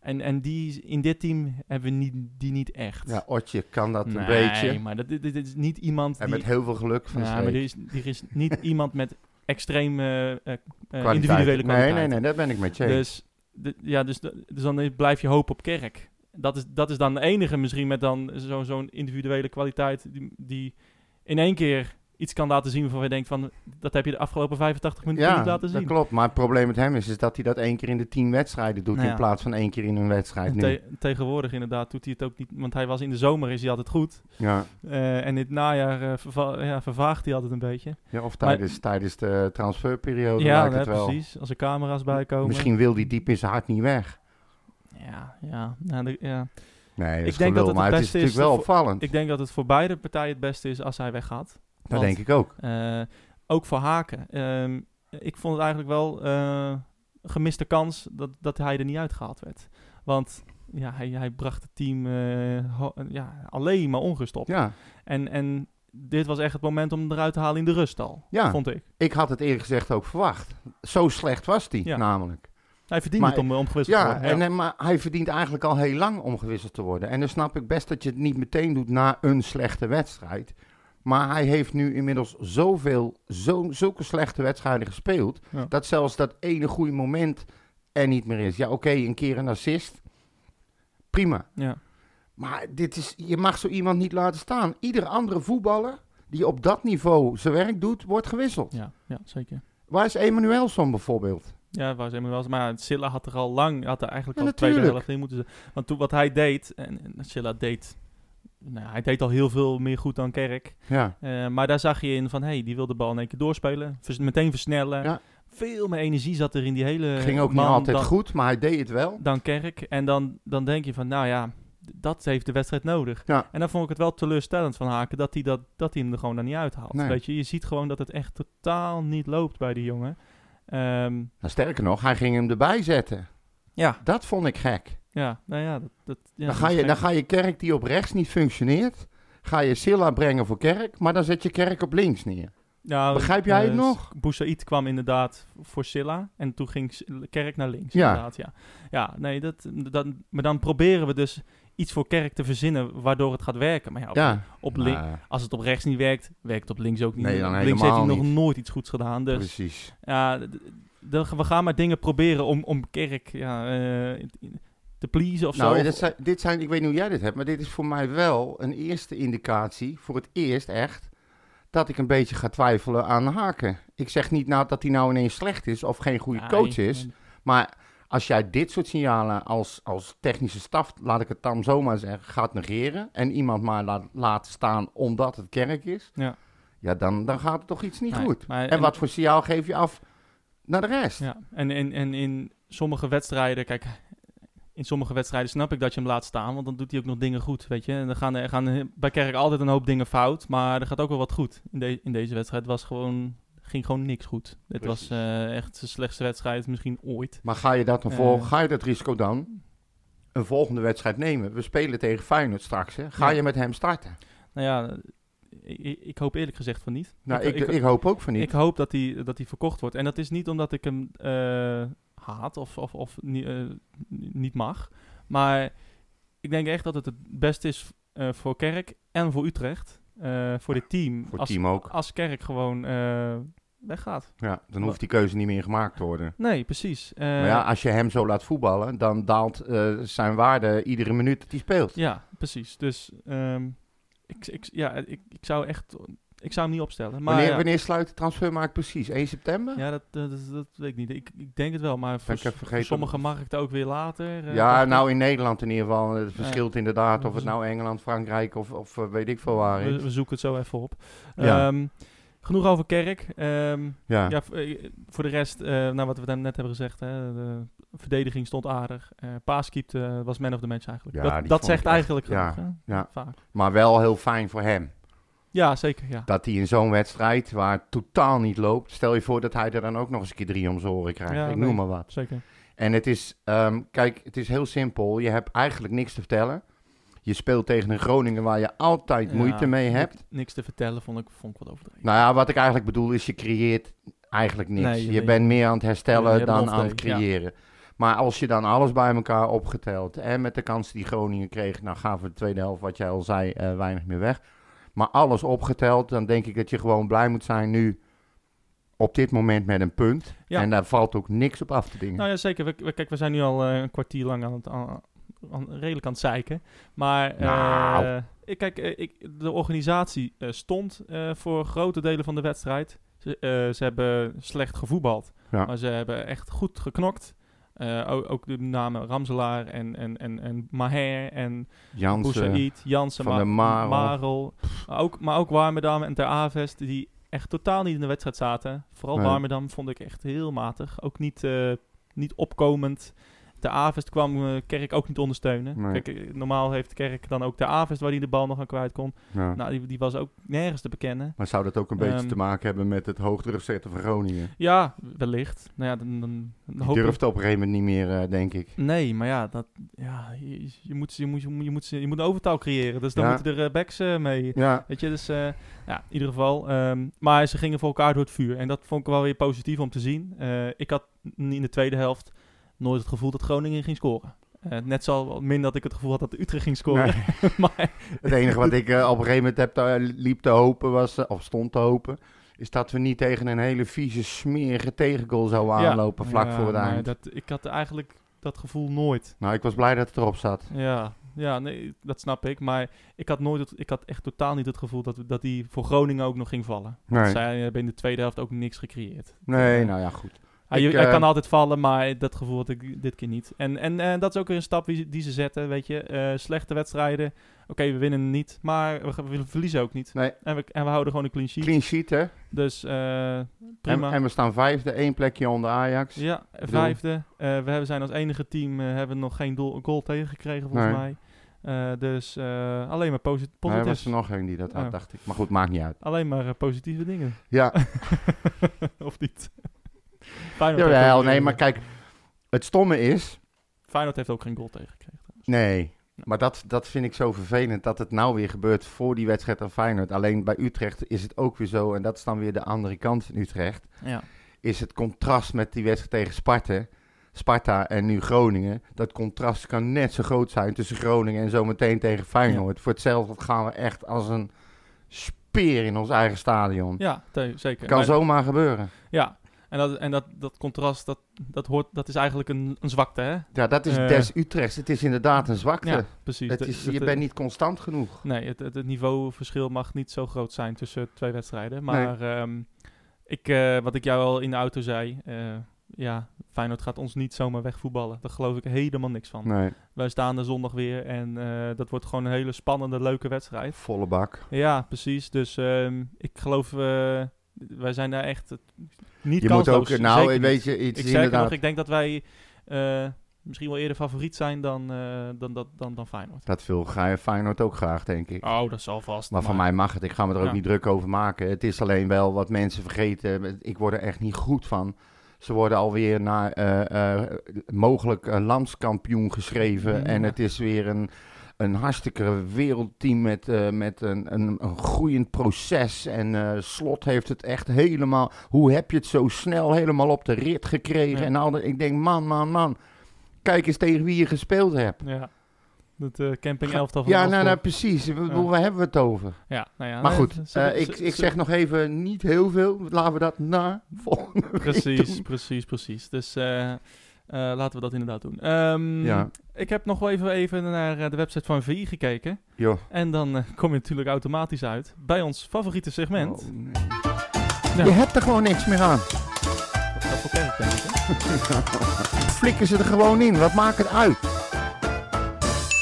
Speaker 2: En, en die, in dit team hebben we niet, die niet echt.
Speaker 1: ja, Otje kan dat een
Speaker 2: nee,
Speaker 1: beetje.
Speaker 2: maar dat, dit, dit is niet iemand
Speaker 1: En
Speaker 2: die...
Speaker 1: met heel veel geluk van
Speaker 2: ja,
Speaker 1: Sleek.
Speaker 2: maar er is, er is niet iemand met extreem eh, eh, eh,
Speaker 1: Kwaliteit.
Speaker 2: individuele
Speaker 1: Nee,
Speaker 2: kwaliteit.
Speaker 1: nee, nee, dat ben ik met je. eens.
Speaker 2: Dus, de- ja, dus, de- dus dan blijf je hopen op Kerk. Dat is, dat is dan de enige misschien met dan zo- zo'n individuele kwaliteit die, die in één keer iets kan laten zien waarvan je denkt van... Dat heb je de afgelopen 85 minuten
Speaker 1: ja,
Speaker 2: niet laten zien.
Speaker 1: dat klopt. Maar het probleem met hem is, is dat hij dat één keer in de tien wedstrijden doet
Speaker 2: Nou ja.
Speaker 1: in plaats van één keer in een wedstrijd.
Speaker 2: En
Speaker 1: Nu.
Speaker 2: te- tegenwoordig inderdaad doet hij het ook niet, want hij was in de zomer is hij altijd goed.
Speaker 1: Ja.
Speaker 2: Eh, en in het najaar eh, verva- ja, vervaagt hij altijd een beetje.
Speaker 1: Ja, of
Speaker 2: Maar-
Speaker 1: tijdens, tijdens de transferperiode
Speaker 2: ja,
Speaker 1: lijkt het
Speaker 2: hè,
Speaker 1: wel.
Speaker 2: precies. Als er camera's bij komen.
Speaker 1: Misschien wil hij diep in zijn hart niet weg.
Speaker 2: Ja, ja. Nou, de- ja.
Speaker 1: Nee, dat
Speaker 2: Ik
Speaker 1: is
Speaker 2: denk
Speaker 1: gelul,
Speaker 2: dat het
Speaker 1: maar het
Speaker 2: het
Speaker 1: is
Speaker 2: beste
Speaker 1: natuurlijk
Speaker 2: is
Speaker 1: wel
Speaker 2: dat
Speaker 1: opvallend.
Speaker 2: Ik denk dat het voor beide partijen het beste is als hij weggaat.
Speaker 1: dat
Speaker 2: want-
Speaker 1: denk ik ook.
Speaker 2: Eh, ook voor Haken. Ehm, ik vond het eigenlijk wel eh, een gemiste kans dat, dat hij er niet uitgehaald werd. Want ja, hij, hij bracht het team eh, ho- ja, alleen maar onrust op.
Speaker 1: Ja,
Speaker 2: En, en dit was echt het moment om hem eruit te halen in de rust al,
Speaker 1: Ja.
Speaker 2: vond ik.
Speaker 1: ik had het eerlijk gezegd ook verwacht. Zo slecht was hij
Speaker 2: Ja.
Speaker 1: namelijk.
Speaker 2: Hij verdiende
Speaker 1: Maar-
Speaker 2: het om, om gewisseld te
Speaker 1: Ja,
Speaker 2: worden.
Speaker 1: en, eh, maar hij verdient eigenlijk al heel lang om gewisseld te worden. En dan snap ik best dat je het niet meteen doet na een slechte wedstrijd. Maar hij heeft nu inmiddels zoveel, zo, zulke slechte wedstrijden gespeeld.
Speaker 2: Ja.
Speaker 1: Dat zelfs dat ene goede moment er niet meer is. Ja, oké, een keer een assist. Prima.
Speaker 2: ja.
Speaker 1: Maar dit is, je mag zo iemand niet laten staan. Iedere andere voetballer die op dat niveau zijn werk doet, wordt gewisseld.
Speaker 2: Ja, ja, zeker.
Speaker 1: Waar is Emanuelson bijvoorbeeld?
Speaker 2: Ja, waar zijn we wel eens. Maar Silla had er al lang, had er eigenlijk
Speaker 1: Ja,
Speaker 2: al de tweede
Speaker 1: natuurlijk.
Speaker 2: helft in moeten zetten. Want toen wat hij deed, en, en Silla deed, nou, hij deed al heel veel meer goed dan Kerk.
Speaker 1: Ja,
Speaker 2: Eh, maar daar zag je in van, hey, die wil de bal in één keer doorspelen. vers- meteen versnellen.
Speaker 1: Ja.
Speaker 2: Veel meer energie zat er in die hele
Speaker 1: ging ook niet
Speaker 2: Eh, man
Speaker 1: altijd
Speaker 2: dan,
Speaker 1: goed, maar hij deed het wel.
Speaker 2: dan Kerk. En dan, dan denk je van, nou ja, d- dat heeft de wedstrijd nodig.
Speaker 1: Ja.
Speaker 2: En dan vond ik het wel teleurstellend van Haken dat hij, dat, dat hij hem er gewoon dan niet uithaalt.
Speaker 1: Nee.
Speaker 2: Weet je, je ziet gewoon dat het echt totaal niet loopt bij die jongen. Ehm,
Speaker 1: Nou, sterker nog, hij ging hem erbij zetten.
Speaker 2: ja,
Speaker 1: Dat vond ik gek.
Speaker 2: ja, nou ja. Dat, dat,
Speaker 1: dan,
Speaker 2: ja, dat
Speaker 1: ga
Speaker 2: is
Speaker 1: je,
Speaker 2: gek.
Speaker 1: dan ga je kerk die op rechts niet functioneert, ga je Silla brengen voor kerk, maar dan zet je kerk op links neer.
Speaker 2: Nou,
Speaker 1: Begrijp jij
Speaker 2: eh,
Speaker 1: het nog?
Speaker 2: Boussaïd kwam inderdaad voor Silla. En toen ging S- Kerk naar links.
Speaker 1: Ja.
Speaker 2: Inderdaad, ja. ja, nee, dat, dan, maar dan proberen we dus iets voor Kerk te verzinnen waardoor het gaat werken. Maar ja, op,
Speaker 1: Ja, Nou,
Speaker 2: op link-
Speaker 1: Maar,
Speaker 2: als het op rechts niet werkt, werkt het op links ook niet.
Speaker 1: Nee, dan
Speaker 2: Op links heeft hij
Speaker 1: helemaal
Speaker 2: nog
Speaker 1: niet.
Speaker 2: nooit iets goeds gedaan. Dus
Speaker 1: precies.
Speaker 2: ja, d- d- we gaan maar dingen proberen om, om Kerk ja, eh, te pleasen of
Speaker 1: Nou,
Speaker 2: zo.
Speaker 1: dit zijn, dit zijn, ik weet niet hoe jij dit hebt, maar dit is voor mij wel een eerste indicatie, voor het eerst echt, dat ik een beetje ga twijfelen aan Haken. Ik zeg niet nou dat hij nou ineens slecht is of geen goede
Speaker 2: Ja,
Speaker 1: coach
Speaker 2: nee,
Speaker 1: is,
Speaker 2: nee.
Speaker 1: maar als jij dit soort signalen als, als technische staf, laat ik het dan zomaar zeggen, gaat negeren en iemand maar laat, laat staan omdat het kerk is,
Speaker 2: Ja.
Speaker 1: ja dan, dan gaat er toch iets niet
Speaker 2: Nee,
Speaker 1: goed.
Speaker 2: maar-
Speaker 1: en, wat voor signaal geef je af naar de rest?
Speaker 2: Ja, en, en, en in sommige wedstrijden, kijk, in sommige wedstrijden snap ik dat je hem laat staan, want dan doet hij ook nog dingen goed, weet je. En dan gaan, er gaan er bij Kerk altijd een hoop dingen fout, maar er gaat ook wel wat goed. In, de, in deze wedstrijd was gewoon, ging gewoon niks goed. Dit was
Speaker 1: Precies.
Speaker 2: eh, echt zijn slechtste wedstrijd misschien ooit.
Speaker 1: Maar ga je, dat dan
Speaker 2: Eh.
Speaker 1: vol- ga je dat risico dan een volgende wedstrijd nemen? We spelen tegen Feyenoord straks. Hè? Ga
Speaker 2: Ja.
Speaker 1: je met hem starten?
Speaker 2: Nou ja, ik, ik hoop eerlijk gezegd van niet.
Speaker 1: Nou, ik, ik, hoop ook van niet.
Speaker 2: Ik hoop dat hij dat die verkocht wordt. En dat is niet omdat ik hem eh, haat of, of, of ni- eh, niet mag. Maar ik denk echt dat het het beste is eh, voor Kerk en voor Utrecht. eh, voor dit team.
Speaker 1: voor het
Speaker 2: als,
Speaker 1: team ook.
Speaker 2: als Kerk gewoon eh, weggaat.
Speaker 1: Ja, dan hoeft die keuze niet meer gemaakt te worden.
Speaker 2: Nee, precies. Eh,
Speaker 1: maar ja, ah. als je hem zo laat voetballen, dan daalt eh, zijn waarde iedere minuut dat hij speelt.
Speaker 2: ja, precies. Dus ehm, ik, ik, ja, ik, ik zou echt... Ik zou hem niet opstellen. Maar
Speaker 1: wanneer,
Speaker 2: ja,
Speaker 1: wanneer sluit de transfermarkt precies? 1 september?
Speaker 2: Ja, dat, dat, dat- dat weet ik niet. Ik, ik denk het wel, maar voor,
Speaker 1: ik even
Speaker 2: s- voor
Speaker 1: vergeten.
Speaker 2: sommige markten ook weer later. eh, dacht
Speaker 1: Ja,
Speaker 2: ik.
Speaker 1: nou in Nederland in ieder geval. Het verschilt inderdaad of
Speaker 2: Dus-
Speaker 1: het nou Engeland, Frankrijk of, of eh, weet ik veel waar
Speaker 2: We,
Speaker 1: is.
Speaker 2: we zoeken het zo even op.
Speaker 1: Ja.
Speaker 2: Ehm, genoeg over Kerk. Ehm,
Speaker 1: Ja,
Speaker 2: ja. v- eh, voor de rest, eh, nou wat we dan net hebben gezegd, hè, de verdediging stond aardig. Eh Paas keepte, eh, was man of the match eigenlijk.
Speaker 1: Ja,
Speaker 2: dat
Speaker 1: die
Speaker 2: dat
Speaker 1: vond
Speaker 2: zegt
Speaker 1: ik echt-
Speaker 2: eigenlijk
Speaker 1: ja,
Speaker 2: genoeg, hè?
Speaker 1: ja.
Speaker 2: Vaak.
Speaker 1: maar wel heel fijn voor hem.
Speaker 2: Ja, zeker. Ja.
Speaker 1: Dat hij in zo'n wedstrijd, waar het totaal niet loopt... Stel je voor dat hij er dan ook nog eens een keer drie om zijn oren krijgt.
Speaker 2: Ja,
Speaker 1: ik
Speaker 2: nee.
Speaker 1: noem maar wat.
Speaker 2: Zeker.
Speaker 1: En het is, ehm, kijk, het is heel simpel. Je hebt eigenlijk niks te vertellen. Je speelt tegen een Groningen waar je altijd
Speaker 2: Ja,
Speaker 1: moeite mee
Speaker 2: ik-
Speaker 1: hebt.
Speaker 2: Niks te vertellen vond ik, vond ik wat overdreven.
Speaker 1: Nou ja, wat ik eigenlijk bedoel is, je creëert eigenlijk niks.
Speaker 2: Nee,
Speaker 1: je
Speaker 2: je-
Speaker 1: bent meer aan het herstellen
Speaker 2: je hebt een
Speaker 1: dan
Speaker 2: off
Speaker 1: aan het
Speaker 2: day, ja.
Speaker 1: creëren. Maar als je dan alles bij elkaar opgeteld en met de kansen die Groningen kreeg, nou gaven de tweede helft, wat jij al zei, eh, weinig meer weg. Maar alles opgeteld, dan denk ik dat je gewoon blij moet zijn nu op dit moment met een punt.
Speaker 2: Ja.
Speaker 1: En daar valt ook niks op af te dingen.
Speaker 2: Nou ja, zeker. We, we- kijk, we zijn nu al eh, een kwartier lang aan het, aan- aan- redelijk aan het zeiken. Maar eh,
Speaker 1: Nou.
Speaker 2: ik, kijk, eh, ik, de organisatie eh, stond eh, voor grote delen van de wedstrijd. Ze, eh, ze hebben slecht gevoetbald,
Speaker 1: Ja.
Speaker 2: maar ze hebben echt goed geknokt. Eh, ook, ook de namen Ramselaar en, en, en, en Maher en
Speaker 1: Jansen,
Speaker 2: Boussaïd, Jansen,
Speaker 1: eh, Van
Speaker 2: Ma-
Speaker 1: der Marel.
Speaker 2: Maar ook, maar ook Warmerdam en Ter Avest, die echt totaal niet in de wedstrijd zaten. Vooral
Speaker 1: Nee.
Speaker 2: Warmerdam vond ik echt heel matig. Ook niet, eh, niet opkomend. Ter Avest kwam eh, Kerk ook niet ondersteunen.
Speaker 1: Nee.
Speaker 2: Kijk, eh, normaal heeft Kerk dan ook Ter Avest waar hij de bal nog aan kwijt kon.
Speaker 1: ja.
Speaker 2: Nou, die, die was ook nergens te bekennen.
Speaker 1: maar zou dat ook een beetje
Speaker 2: Ehm,
Speaker 1: te maken hebben met het hoogdrukzetten van Groningen?
Speaker 2: Ja, wellicht. Nou ja, dan, dan, dan
Speaker 1: Die
Speaker 2: hoop ik-
Speaker 1: durft op een gegeven moment niet meer, eh, denk ik.
Speaker 2: Nee, maar ja, dat, ja je, je moet, je, moet, je, moet, je moet- je moet een overtaal creëren. Dus dan
Speaker 1: Ja.
Speaker 2: moeten er eh, backs eh, mee.
Speaker 1: Ja,
Speaker 2: Weet je, dus eh, ja, in ieder geval. ehm, maar ze gingen voor elkaar door het vuur. En dat vond ik wel weer positief om te zien. Eh, ik had n- in de tweede helft nooit het gevoel dat Groningen ging scoren. Eh, net zo wel min dat ik het gevoel had dat Utrecht ging scoren.
Speaker 1: Nee.
Speaker 2: maar
Speaker 1: Het enige wat ik eh, op een gegeven moment heb te- liep te hopen, was, eh, of stond te hopen, is dat we niet tegen een hele vieze, smerige tegengoal zouden
Speaker 2: Ja.
Speaker 1: aanlopen vlak
Speaker 2: Ja,
Speaker 1: voor het
Speaker 2: maar
Speaker 1: eind.
Speaker 2: dat, ik had eigenlijk dat gevoel nooit.
Speaker 1: Nou, ik was blij dat het erop zat.
Speaker 2: Ja, ja nee, dat snap ik. Maar ik had, nooit het, ik had echt totaal niet het gevoel dat, dat die voor Groningen ook nog ging vallen.
Speaker 1: Nee,
Speaker 2: Zij hebben in de tweede helft ook niks gecreëerd.
Speaker 1: nee nou ja, goed.
Speaker 2: Hij,
Speaker 1: Ik,
Speaker 2: hij
Speaker 1: eh,
Speaker 2: Ah, kan altijd vallen, maar dat gevoel had ik dit keer niet. En, en eh, dat is ook weer een stap die, ze- die ze zetten, weet je. Eh, slechte wedstrijden. Oké, we winnen niet, maar we, gaan- we verliezen ook niet.
Speaker 1: Nee.
Speaker 2: En, we, en we houden gewoon een clean sheet.
Speaker 1: Clean sheet, hè?
Speaker 2: Dus eh,
Speaker 1: En,
Speaker 2: prima.
Speaker 1: en we staan vijfde, één plekje onder Ajax.
Speaker 2: ja,
Speaker 1: bedoel-
Speaker 2: vijfde. Eh, we hebben- zijn als enige team, eh, hebben nog geen doel, goal tegengekregen volgens
Speaker 1: Nee.
Speaker 2: mij. Eh, dus eh, alleen maar posit
Speaker 1: Maar er was
Speaker 2: positief.
Speaker 1: er nog één die dat had,
Speaker 2: Oh.
Speaker 1: dacht ik. Maar goed, maakt niet uit.
Speaker 2: Alleen maar eh, positieve dingen.
Speaker 1: Ja,
Speaker 2: of niet? Feyenoord heeft
Speaker 1: jawel,
Speaker 2: ook-
Speaker 1: nee, maar kijk, het stomme is,
Speaker 2: Feyenoord heeft ook geen goal tegengekregen.
Speaker 1: Nee, maar dat, dat vind ik zo vervelend dat het nou weer gebeurt voor die wedstrijd aan Feyenoord. Alleen bij Utrecht is het ook weer zo, en dat is dan weer de andere kant van Utrecht,
Speaker 2: Ja.
Speaker 1: is het contrast met die wedstrijd tegen Sparta, Sparta en nu Groningen. Dat contrast kan net zo groot zijn tussen Groningen en zometeen tegen Feyenoord. Voor hetzelfde gaan we echt als een speer in ons eigen stadion.
Speaker 2: Ja, te- zeker.
Speaker 1: Kan
Speaker 2: Maar-
Speaker 1: zomaar gebeuren.
Speaker 2: Ja, en dat, en dat, dat contrast, dat, dat, hoort, dat is eigenlijk een, een zwakte, hè?
Speaker 1: Ja, dat is
Speaker 2: Eh.
Speaker 1: des Utrechts. Het is inderdaad een zwakte.
Speaker 2: Ja, precies.
Speaker 1: het
Speaker 2: Dat-
Speaker 1: is,
Speaker 2: dat-
Speaker 1: je bent niet constant genoeg.
Speaker 2: Nee, het, het, het niveauverschil mag niet zo groot zijn tussen twee wedstrijden. Maar ehm, ik, eh, wat ik jou al in de auto zei, eh, ja, Feyenoord gaat ons niet zomaar wegvoetballen. Daar geloof ik helemaal niks van.
Speaker 1: Nee,
Speaker 2: Wij staan er zondag weer en eh, dat wordt gewoon een hele spannende, leuke wedstrijd.
Speaker 1: volle bak.
Speaker 2: Ja, precies. Dus ehm, ik geloof, eh, wij zijn daar echt eh, niet
Speaker 1: Je moet
Speaker 2: kansloos.
Speaker 1: ook, eh, nou,
Speaker 2: Zeker niet.
Speaker 1: weet je, iets
Speaker 2: Ik zeg
Speaker 1: inderdaad.
Speaker 2: nog, ik denk dat wij eh, misschien wel eerder favoriet zijn dan, eh, dan, dat dan, dan Feyenoord.
Speaker 1: Dat wil Gra- Feyenoord ook graag, denk ik.
Speaker 2: Oh, dat zal vast.
Speaker 1: Maar van mij mag het. Ik ga me er ook
Speaker 2: Ja.
Speaker 1: niet druk over maken. Het is alleen wel wat mensen vergeten. Ik word er echt niet goed van. Ze worden alweer naar eh, eh, mogelijk eh, landskampioen geschreven.
Speaker 2: Ja.
Speaker 1: En het is weer een, een hartstikke wereldteam met, eh, met een, een, een groeiend proces. En eh, Slot heeft het echt helemaal... Hoe heb je het zo snel helemaal op de rit gekregen?
Speaker 2: Ja.
Speaker 1: En al dat- ik denk, man, man, man. Kijk eens tegen wie je gespeeld hebt.
Speaker 2: Ja, dat eh camping elftal van
Speaker 1: Ja,
Speaker 2: de
Speaker 1: nou, nou
Speaker 2: Bosco.
Speaker 1: precies. Ik bedoel, Waar hebben we het over?
Speaker 2: ja, nou ja.
Speaker 1: maar
Speaker 2: nee,
Speaker 1: goed,
Speaker 2: ze-
Speaker 1: eh,
Speaker 2: ze-
Speaker 1: ik,
Speaker 2: ze-
Speaker 1: ik
Speaker 2: ze-
Speaker 1: zeg nog even niet heel veel. Laten we dat na volgende week
Speaker 2: Precies,
Speaker 1: doen.
Speaker 2: precies, precies. Dus eh, eh, laten we dat inderdaad doen. Ehm,
Speaker 1: Ja.
Speaker 2: Ik heb nog wel even, even naar eh, de website van VI gekeken.
Speaker 1: Joh.
Speaker 2: En dan eh, kom je natuurlijk automatisch uit bij ons favoriete segment.
Speaker 1: Oh,
Speaker 2: Dat
Speaker 1: nee.
Speaker 2: Ja.
Speaker 1: Je hebt er gewoon niks meer aan.
Speaker 2: gaat voor Kerk, denk ik, hè?
Speaker 1: Flikken ze er gewoon in. Wat maakt het uit?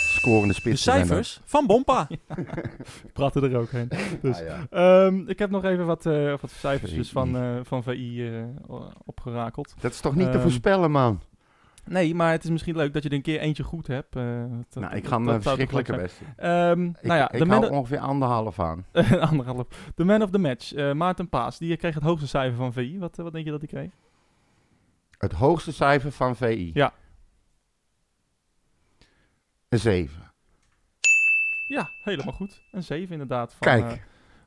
Speaker 1: Scorende
Speaker 2: De
Speaker 1: spitsen. zijn er.
Speaker 2: cijfers van Bompa. Ik praatte er ook heen. Dus
Speaker 1: Ah, ja.
Speaker 2: Ehm, ik heb nog even wat, eh, wat cijfers
Speaker 1: VI.
Speaker 2: dus van, eh, van VI eh, o- opgerakeld.
Speaker 1: Dat is toch niet te
Speaker 2: Ehm,
Speaker 1: voorspellen, man?
Speaker 2: Nee, maar het is misschien leuk dat je er een keer eentje goed hebt. eh, dat-
Speaker 1: nou, ik
Speaker 2: dat-
Speaker 1: ga
Speaker 2: dat
Speaker 1: mijn
Speaker 2: zou toch leuk
Speaker 1: verschrikkelijke
Speaker 2: zijn.
Speaker 1: best doen.
Speaker 2: Ehm,
Speaker 1: Ik,
Speaker 2: nou ja,
Speaker 1: ik
Speaker 2: de man,
Speaker 1: hou ongeveer anderhalf aan.
Speaker 2: anderhalf. De man of the match, eh, Maarten Paas. Die kreeg het hoogste cijfer van VI. Wat, eh, wat denk je dat hij kreeg?
Speaker 1: Het hoogste cijfer van VI.
Speaker 2: Ja.
Speaker 1: Een 7.
Speaker 2: Ja, helemaal goed. Een 7 inderdaad. Van,
Speaker 1: Kijk,
Speaker 2: eh,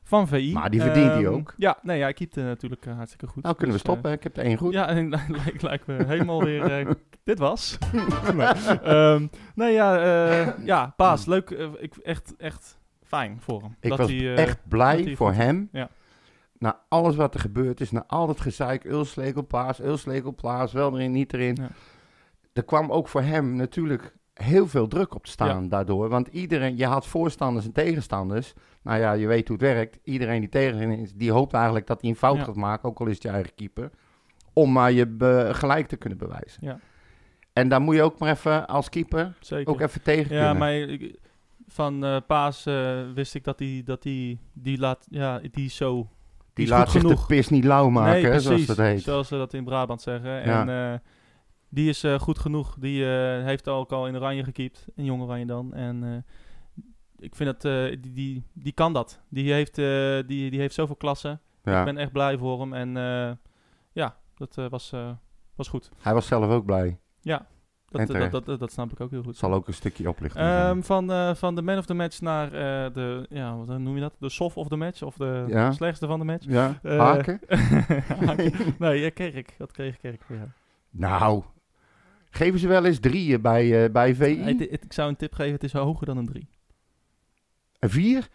Speaker 2: van VI.
Speaker 1: Maar die verdient hij
Speaker 2: Ehm,
Speaker 1: ook.
Speaker 2: Ja, nee, hij keept eh, natuurlijk eh, hartstikke goed.
Speaker 1: nou kunnen we
Speaker 2: Dus, eh,
Speaker 1: stoppen. ik heb er één goed.
Speaker 2: Ja, en eh, lijkt lijkt me helemaal weer. eh, dit was. nee, Ehm, nee, ja, eh, ja, Paas, leuk. eh, ik, echt, echt fijn voor hem.
Speaker 1: ik
Speaker 2: dat
Speaker 1: was
Speaker 2: hij, eh,
Speaker 1: echt
Speaker 2: dat
Speaker 1: blij
Speaker 2: hij
Speaker 1: voor
Speaker 2: goed-
Speaker 1: hem.
Speaker 2: Ja.
Speaker 1: Na alles wat er gebeurd is, na al dat gezeik, Ulslekelplaats, Ulslekelplaats, wel erin, niet erin.
Speaker 2: Ja.
Speaker 1: Er kwam ook voor hem natuurlijk heel veel druk op te staan daardoor. Want iedereen, je had voorstanders en tegenstanders. Nou ja, je weet hoe het werkt. Iedereen die tegen hem is, die hoopt eigenlijk dat hij een fout
Speaker 2: Ja.
Speaker 1: gaat maken, ook al is het je eigen keeper. Om maar je be- gelijk te kunnen bewijzen.
Speaker 2: Ja.
Speaker 1: En daar moet je ook maar even als keeper
Speaker 2: zeker.
Speaker 1: ook even tegen
Speaker 2: Ja,
Speaker 1: kunnen.
Speaker 2: maar ik- van eh, Paas eh, wist ik dat die, dat die, die laat, ja, die is zo.
Speaker 1: die
Speaker 2: is
Speaker 1: laat
Speaker 2: goed
Speaker 1: zich
Speaker 2: genoeg.
Speaker 1: de pis niet lauw maken,
Speaker 2: nee,
Speaker 1: hè,
Speaker 2: precies,
Speaker 1: zoals dat heet.
Speaker 2: Zoals ze dat in Brabant zeggen.
Speaker 1: Ja.
Speaker 2: En eh, die is eh, goed genoeg. Die eh, heeft ook al in Oranje gekiept. In Jong Oranje dan. En eh, ik vind dat, eh, die, die, die kan dat. Die heeft, eh, die, die heeft zoveel klassen.
Speaker 1: Ja.
Speaker 2: Ik ben echt blij voor hem. En eh, ja, dat eh, was, eh, was goed.
Speaker 1: Hij was zelf ook blij. En
Speaker 2: Dat, dat,
Speaker 1: terecht.
Speaker 2: dat, dat, dat snap ik ook heel goed.
Speaker 1: Zal ook een stukje oplichting zijn.
Speaker 2: Ehm, van, eh, van de man of the match naar eh, de, ja, wat noem je dat? De soft of the match of de
Speaker 1: Ja.
Speaker 2: slechtste van de match.
Speaker 1: Ja,
Speaker 2: eh,
Speaker 1: haken?
Speaker 2: nee, ja, Kerk. Dat kreeg Kerk. Ja.
Speaker 1: Nou, geven ze wel eens drieën bij, eh, bij VI?
Speaker 2: Het- het- ik zou een tip geven, het is hoger dan een 3.
Speaker 1: Een Eh, vier?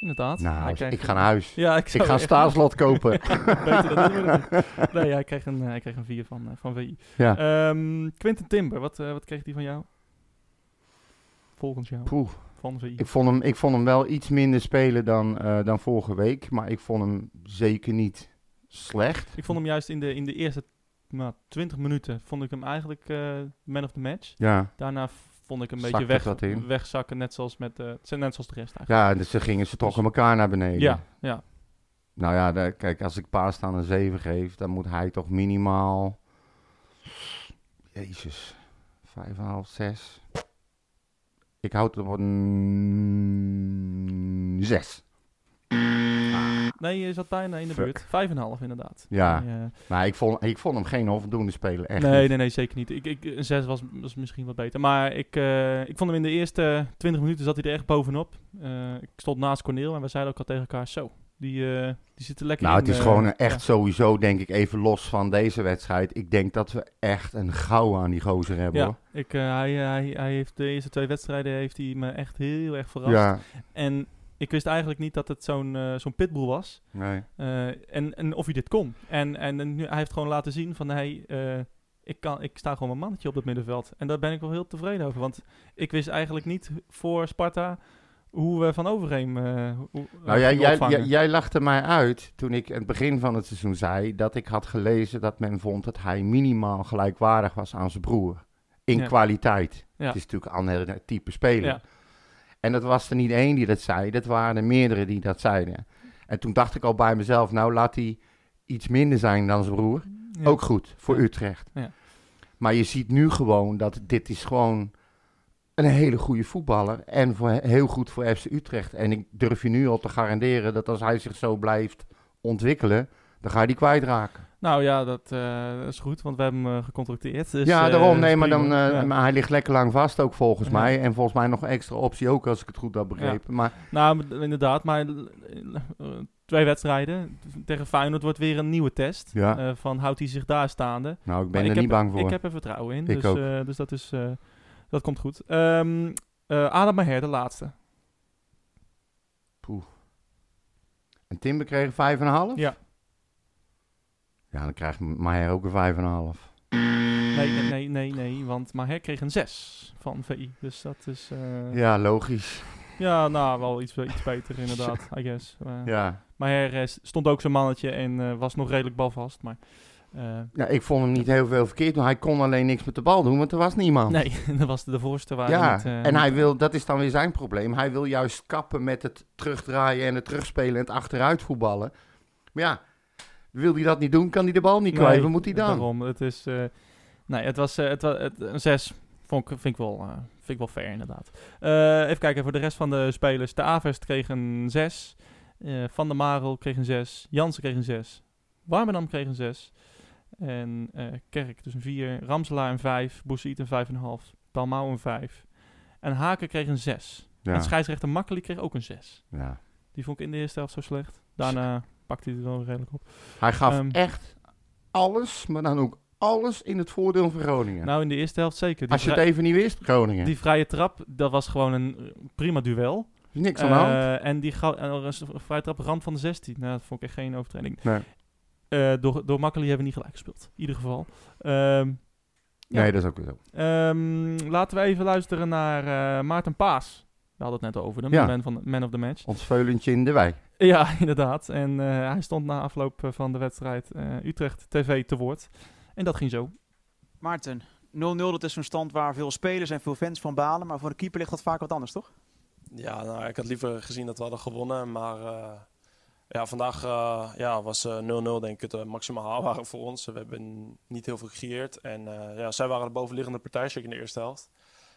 Speaker 2: Inderdaad.
Speaker 1: Nou,
Speaker 2: Hij kreeg-
Speaker 1: ik ga naar huis.
Speaker 2: Ja, ik,
Speaker 1: Ik
Speaker 2: zou
Speaker 1: ga een
Speaker 2: echt-
Speaker 1: staatslot kopen.
Speaker 2: Beter dan dit wordt het niet. Nee, hij kreeg een, hij kreeg een 4 van, eh, van VI.
Speaker 1: Ja.
Speaker 2: Ehm, Quinten Timber, wat, eh, wat kreeg die van jou? Volgens jou.
Speaker 1: Poeh,
Speaker 2: Van VI.
Speaker 1: ik, vond hem, ik vond hem wel iets minder spelen dan, eh, dan vorige week. Maar ik vond hem zeker niet slecht.
Speaker 2: Ik vond hem juist in de, in de eerste nou, 20 minuten vond ik hem eigenlijk eh, man of the match.
Speaker 1: Ja,
Speaker 2: Daarna vond ik een
Speaker 1: Zakte
Speaker 2: beetje
Speaker 1: dat in.
Speaker 2: weg, wegzakken, net zoals, met, eh, het zijn net zoals de rest eigenlijk.
Speaker 1: ja dus ze, gingen, ze trokken elkaar naar beneden.
Speaker 2: Ja, ja.
Speaker 1: Nou ja, daar- kijk, als ik Paas aan een 7 geef, dan moet hij toch minimaal. Jezus, 5,5, 6. Ik houd het op een 6.
Speaker 2: Nee, je zat bijna in de
Speaker 1: Fuck.
Speaker 2: buurt. Vijf en een half inderdaad. eh,
Speaker 1: Ja,
Speaker 2: Ja.
Speaker 1: maar ik vond, ik vond hem geen onvoldoende spelen. Echt.
Speaker 2: nee,
Speaker 1: niet.
Speaker 2: nee, nee, zeker niet. Ik, ik, een 6 was, was misschien wat beter. Maar ik, eh, ik vond hem in de eerste 20 minuten zat hij er echt bovenop. Eh, ik stond naast Corneel en we zeiden ook al tegen elkaar, zo, die, eh, die zit er lekker
Speaker 1: Nou,
Speaker 2: in.
Speaker 1: het is
Speaker 2: eh,
Speaker 1: gewoon een- echt
Speaker 2: ja.
Speaker 1: sowieso, denk ik, even los van deze wedstrijd. Ik denk dat we echt een gauw aan die gozer hebben.
Speaker 2: Ja,
Speaker 1: hoor.
Speaker 2: ik, eh, hij, hij, hij heeft de eerste twee wedstrijden heeft hij me echt heel erg verrast.
Speaker 1: ja.
Speaker 2: En ik wist eigenlijk niet dat het zo'n eh, zo'n pitbull was.
Speaker 1: Nee.
Speaker 2: Eh, en, en of hij dit kon. En, en, en nu, hij heeft gewoon laten zien van... Hey, eh, ik, kan, ik sta gewoon mijn mannetje op dat middenveld. En daar ben ik wel heel tevreden over. Want ik wist eigenlijk niet voor Sparta... hoe we van Overheem eh hoe,
Speaker 1: Nou, jij,
Speaker 2: gingen
Speaker 1: jij,
Speaker 2: opvangen.
Speaker 1: jij, jij lachte mij uit toen ik aan het begin van het seizoen zei dat ik had gelezen dat men vond dat hij minimaal gelijkwaardig was aan zijn broer. In
Speaker 2: Ja.
Speaker 1: kwaliteit.
Speaker 2: Ja.
Speaker 1: Het is natuurlijk een ander type speler.
Speaker 2: Ja.
Speaker 1: En dat was er niet één die dat zei, dat waren er meerdere die dat zeiden. En toen dacht ik al bij mezelf, nou laat hij iets minder zijn dan zijn broer.
Speaker 2: Ja.
Speaker 1: Ook goed voor
Speaker 2: Ja.
Speaker 1: Utrecht.
Speaker 2: Ja.
Speaker 1: Maar je ziet nu gewoon dat dit is gewoon een hele goede voetballer. En voor, heel goed voor FC Utrecht. En ik durf je nu al te garanderen dat als hij zich zo blijft ontwikkelen, dan ga je die kwijtraken.
Speaker 2: Nou ja, dat eh, is goed. Want we hebben hem eh, gecontracteerd. Dus,
Speaker 1: ja,
Speaker 2: eh,
Speaker 1: daarom.
Speaker 2: is
Speaker 1: Nee, maar, dan,
Speaker 2: prima.
Speaker 1: eh,
Speaker 2: Ja.
Speaker 1: maar hij ligt lekker lang vast ook volgens
Speaker 2: Ja.
Speaker 1: mij. En volgens mij nog een extra optie ook, als ik het goed heb begrepen. Maar
Speaker 2: Nou, maar- inderdaad, maar eh, twee wedstrijden. Tegen Feyenoord wordt weer een nieuwe test.
Speaker 1: Ja.
Speaker 2: Eh, van houdt hij zich daar staande?
Speaker 1: nou, ik ben
Speaker 2: Maar
Speaker 1: er
Speaker 2: ik
Speaker 1: niet
Speaker 2: heb-
Speaker 1: bang voor.
Speaker 2: Ik heb er vertrouwen in.
Speaker 1: Ik
Speaker 2: dus,
Speaker 1: ook.
Speaker 2: eh, dus dat is. eh, dat komt goed. Ehm eh Adam Maher, de laatste.
Speaker 1: En Timber kreeg een 5,5?
Speaker 2: Ja.
Speaker 1: Ja, dan krijgt Maher ook een 5,5.
Speaker 2: Nee, nee, nee, nee, nee, Want Maher kreeg een 6 van VI. Dus dat is. eh, ja.
Speaker 1: Ja, logisch.
Speaker 2: nou, wel iets, iets beter inderdaad, I guess. Maar
Speaker 1: Ja.
Speaker 2: Maher eh, stond ook zijn mannetje en eh, was nog redelijk balvast. Maar. eh,
Speaker 1: Ja, ik vond hem niet heel veel verkeerd, maar hij kon alleen niks met de bal doen, want er was niemand.
Speaker 2: nee, dat was de, de voorste waar.
Speaker 1: Oh. ja,
Speaker 2: niet, eh,
Speaker 1: en hij
Speaker 2: niet-
Speaker 1: wil, dat is dan weer zijn probleem. Hij wil juist kappen met het terugdraaien en het terugspelen en het achteruit voetballen. Maar ja, wil hij dat niet doen, kan hij de bal niet
Speaker 2: Nee,
Speaker 1: kwijt. Wat moet hij dan?
Speaker 2: Daarom, het is. eh, Nee, het was, eh, het was het, een 6. Vond ik, vind, ik wel, eh, vind ik wel fair, inderdaad. Eh, even kijken voor de rest van de spelers. De Avest kreeg een 6. eh, van der Marel kreeg een 6. Jansen kreeg een 6. Warmerdam kreeg een 6. En eh, Kerk dus een 4. Ramselaar een 5. Boesiet een 5,5. Dalmau een 5. En Haken kreeg een 6. En
Speaker 1: Ja,
Speaker 2: scheidsrechter Makkeli kreeg ook een 6.
Speaker 1: ja.
Speaker 2: Die vond ik in de eerste helft zo slecht. Daarna pakte hij het wel redelijk op.
Speaker 1: Hij gaf
Speaker 2: Ehm,
Speaker 1: echt alles, maar dan ook alles in het voordeel van Groningen.
Speaker 2: Nou, in de eerste helft zeker. Die
Speaker 1: Als je het
Speaker 2: vrij-
Speaker 1: even niet wist, Groningen.
Speaker 2: Die vrije trap, dat was gewoon een eh, prima duel.
Speaker 1: Is niks aan de hand.
Speaker 2: Eh, en die gauw- en er is een vrije trap rand van de 16. Nou, dat vond ik echt geen overtreding.
Speaker 1: Nee.
Speaker 2: Eh, door, door Makkeli hebben we niet gelijk gespeeld. In ieder geval. Ehm, ja.
Speaker 1: Nee, dat is ook weer zo.
Speaker 2: ehm, laten we even luisteren naar eh, Maarten Paas. We hadden het net over hem,
Speaker 1: Ja.
Speaker 2: de man, van, man of the match.
Speaker 1: Ons veulentje in de wei.
Speaker 2: Ja, inderdaad. En eh, hij stond na afloop eh, van de wedstrijd eh, Utrecht TV te woord. En dat ging zo.
Speaker 5: Maarten, 0-0 dat is zo'n stand waar veel spelers en veel fans van balen. Maar voor een keeper ligt dat vaak wat anders, toch?
Speaker 6: Ja, nou, ik had liever gezien dat we hadden gewonnen. Maar eh, ja, vandaag eh, ja, was eh, 0-0 denk ik het eh, maximaal haalbare voor ons. We hebben niet heel veel gecreëerd. En eh, ja, zij waren de bovenliggende partij, zeker in de eerste helft.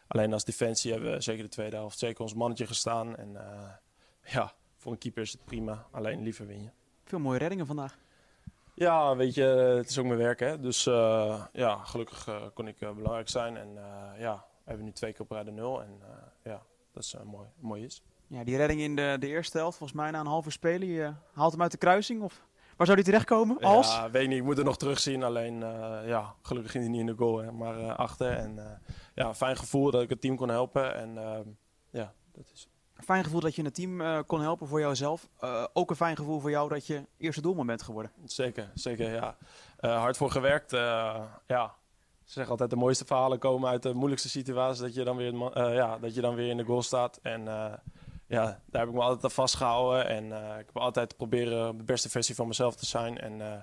Speaker 6: Alleen als defensie hebben we zeker de tweede helft zeker ons mannetje gestaan. En eh, ja, voor een keeper is het prima. Alleen liever win je.
Speaker 5: Veel mooie reddingen vandaag.
Speaker 6: Ja, weet je, eh, het is ook mijn werk, hè. Dus eh, ja, gelukkig eh, kon ik eh, belangrijk zijn. En eh, ja, we hebben nu twee keer op rij de nul. En eh, ja, dat is eh, mooi, mooi is.
Speaker 5: Ja, die redding in de, de eerste helft, volgens mij na een halve spelen. Je eh, haalt hem uit de kruising. Of waar zou die terechtkomen? Als?
Speaker 6: Ja, weet niet. Ik moet het nog terugzien. Alleen, eh, ja, gelukkig ging hij niet in de goal, hè, maar eh, achter. En eh, ja, fijn gevoel dat ik het team kon helpen. En ehm, ja, dat is
Speaker 5: Fijn gevoel dat je het team eh, kon helpen voor jouzelf. Eh, ook een fijn gevoel voor jou dat je eerste doelman bent geworden.
Speaker 6: zeker, zeker, ja. Eh, hard voor gewerkt. eh, ja, ze zeggen altijd de mooiste verhalen komen uit de moeilijkste situaties. Dat je dan weer, het ma- eh, ja, dat je dan weer in de goal staat. En eh, ja, daar heb ik me altijd aan vastgehouden. En eh, ik heb altijd proberen de beste versie van mezelf te zijn. En eh,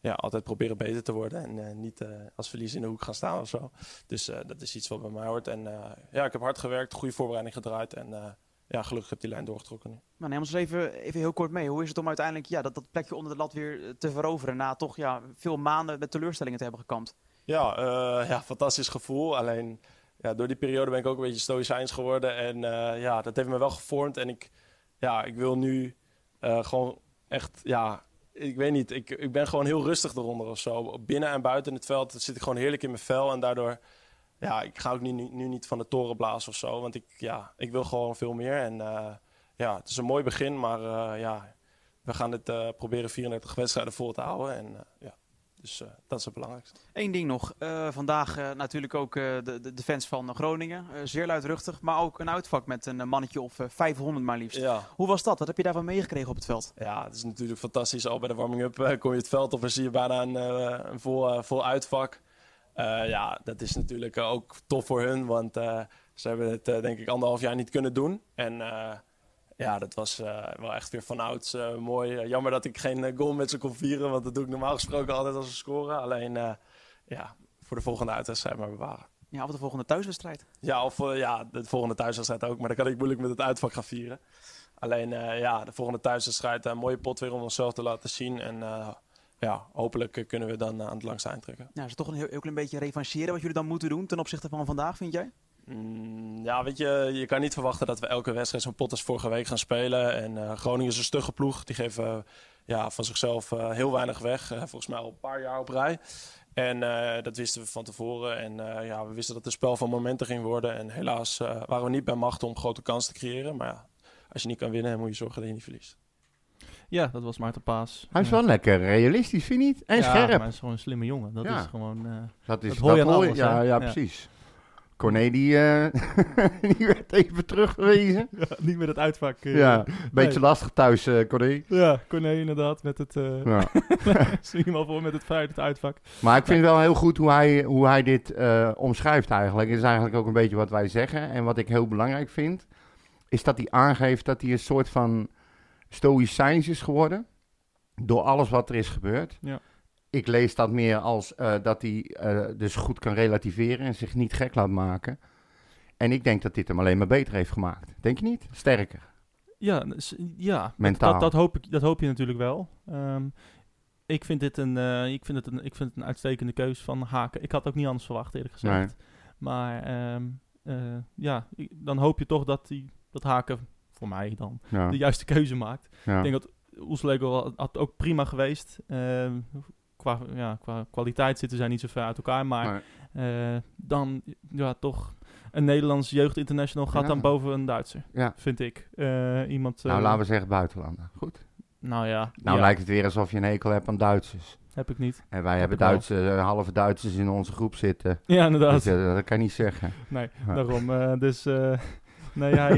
Speaker 6: ja, altijd proberen beter te worden. En eh, niet eh, als verlies in de hoek gaan staan of zo. Dus eh, dat is iets wat bij mij hoort. En eh, ja, ik heb hard gewerkt, goede voorbereiding gedraaid. En eh, ja, gelukkig heb ik die lijn doorgetrokken nu.
Speaker 5: Nou, neem ons eens even, even heel kort mee. Hoe is het om uiteindelijk ja, dat, dat plekje onder de lat weer eh, te veroveren? Na toch ja, veel maanden met teleurstellingen te hebben gekampt.
Speaker 6: Ja, eh, ja, fantastisch gevoel. Alleen ja, door die periode ben ik ook een beetje stoïcijns geworden. En eh, ja, dat heeft me wel gevormd. En ik, ja, ik wil nu eh, gewoon echt, ja, ik weet niet. Ik, ik ben gewoon heel rustig eronder of zo. Binnen en buiten het veld zit ik gewoon heerlijk in mijn vel. En daardoor, ja, ik ga ook nu, nu, nu niet van de toren blazen of zo. Want ik, ja, ik wil gewoon veel meer. En eh, ja, het is een mooi begin. Maar eh, ja, we gaan het eh, proberen 34 wedstrijden vol te houden. En eh, ja, dus eh, dat is het belangrijkste.
Speaker 5: Eén ding nog. Eh, vandaag eh, natuurlijk ook eh, de, de, de fans van Groningen. Eh, zeer luidruchtig, maar ook een uitvak met een eh, mannetje of eh, 500 maar liefst.
Speaker 6: Ja.
Speaker 5: Hoe was dat? Wat heb je daarvan meegekregen op het veld?
Speaker 6: Ja, het is natuurlijk fantastisch. Al bij de warming-up eh, kom je het veld op en zie je bijna een, eh, een vol, eh, vol uitvak. Eh, ja, dat is natuurlijk eh, ook tof voor hun, want eh, ze hebben het eh, denk ik anderhalf jaar niet kunnen doen. En eh, ja, dat was eh, wel echt weer vanouds eh mooi. Eh, jammer dat ik geen eh, goal met ze kon vieren, want dat doe ik normaal gesproken altijd als we scoren. Alleen eh, ja, voor de volgende uitwedstrijd maar bewaren.
Speaker 5: Ja, op de volgende thuiswedstrijd.
Speaker 6: Ja, of eh, ja, de volgende thuiswedstrijd ook. Maar dan kan ik moeilijk met het uitvak gaan vieren. Alleen eh, ja, de volgende thuiswedstrijd, een mooie pot weer om onszelf te laten zien. En eh, ja, hopelijk eh, kunnen we dan eh, aan het langste eind trekken.
Speaker 5: Nou, is het toch een heel, heel klein beetje revancheren wat jullie dan moeten doen ten opzichte van vandaag, vind jij?
Speaker 6: Mm, ja, weet je, je kan niet verwachten dat we elke wedstrijd zo'n pot als vorige week gaan spelen. En eh, Groningen is een stugge ploeg. Die geven eh, ja, van zichzelf eh, heel weinig weg. Eh, volgens mij al een paar jaar op rij. En eh, dat wisten we van tevoren. En eh, ja, we wisten dat het spel van momenten ging worden. En helaas eh, waren we niet bij macht om grote kansen te creëren. Maar ja, als je niet kan winnen, moet je zorgen dat je niet verliest.
Speaker 2: Ja, dat was Maarten Paas.
Speaker 1: Hij is
Speaker 2: Ja.
Speaker 1: wel lekker realistisch, vind je niet? En
Speaker 2: Ja,
Speaker 1: scherp.
Speaker 2: maar hij is gewoon een slimme jongen. Dat
Speaker 1: Ja.
Speaker 2: is gewoon... eh,
Speaker 1: Dat is
Speaker 2: dat hoor je aan alles,
Speaker 1: ja,
Speaker 2: hè?
Speaker 1: ja,
Speaker 2: Ja.
Speaker 1: precies. Corné, die, eh, die werd even teruggewezen.
Speaker 2: niet meer het uitvak. eh.
Speaker 1: Ja, beetje lastig thuis, eh Corné.
Speaker 2: Ja, Corné inderdaad. Met het, eh
Speaker 1: Ja.
Speaker 2: zie hem al voor met het fruit, het uitvak.
Speaker 1: Maar ik vind wel heel goed hoe hij, hoe hij dit eh, omschrijft eigenlijk. Het is eigenlijk ook een beetje wat wij zeggen. En wat ik heel belangrijk vind, is dat hij aangeeft dat hij een soort van stoïcijns is geworden. Door alles wat er is gebeurd.
Speaker 2: Ja.
Speaker 1: Ik lees dat meer als eh, dat hij eh, dus goed kan relativeren en zich niet gek laat maken. En ik denk dat dit hem alleen maar beter heeft gemaakt. Denk je niet? Sterker,
Speaker 2: Ja, s- ja.
Speaker 1: mentaal.
Speaker 2: Dat, dat, hoop ik, dat hoop je natuurlijk wel. Ehm, ik vind dit een, eh, ik vind het een, ik vind het een uitstekende keus van Haken. Ik had ook niet anders verwacht, eerlijk gezegd. Maar ehm, eh, ja, ik- dan hoop je toch dat, die, dat Haken, voor mij dan,
Speaker 1: Ja,
Speaker 2: de juiste keuze maakt.
Speaker 1: ja.
Speaker 2: Ik denk dat Oeslegel had, had ook prima geweest. Ehm, qua, ja, qua kwaliteit zitten zij niet zo ver uit elkaar. Maar eh, dan ja, toch een Nederlands jeugdinternational gaat
Speaker 1: Ja.
Speaker 2: dan boven een Duitser.
Speaker 1: Ja.
Speaker 2: Vind ik. Eh, iemand, eh,
Speaker 1: nou, laten we zeggen buitenlander. Goed.
Speaker 2: nou ja,
Speaker 1: Nou
Speaker 2: ja,
Speaker 1: lijkt het weer alsof je een hekel hebt aan Duitsers.
Speaker 2: heb ik niet.
Speaker 1: En wij hebben
Speaker 2: ik wel.
Speaker 1: Duitse, eh, halve Duitsers in onze groep zitten.
Speaker 2: Ja,
Speaker 1: Dus,
Speaker 2: inderdaad.
Speaker 1: eh, dat kan je niet zeggen.
Speaker 2: Nee,
Speaker 1: Ja.
Speaker 2: daarom. eh, dus eh, nee, hij...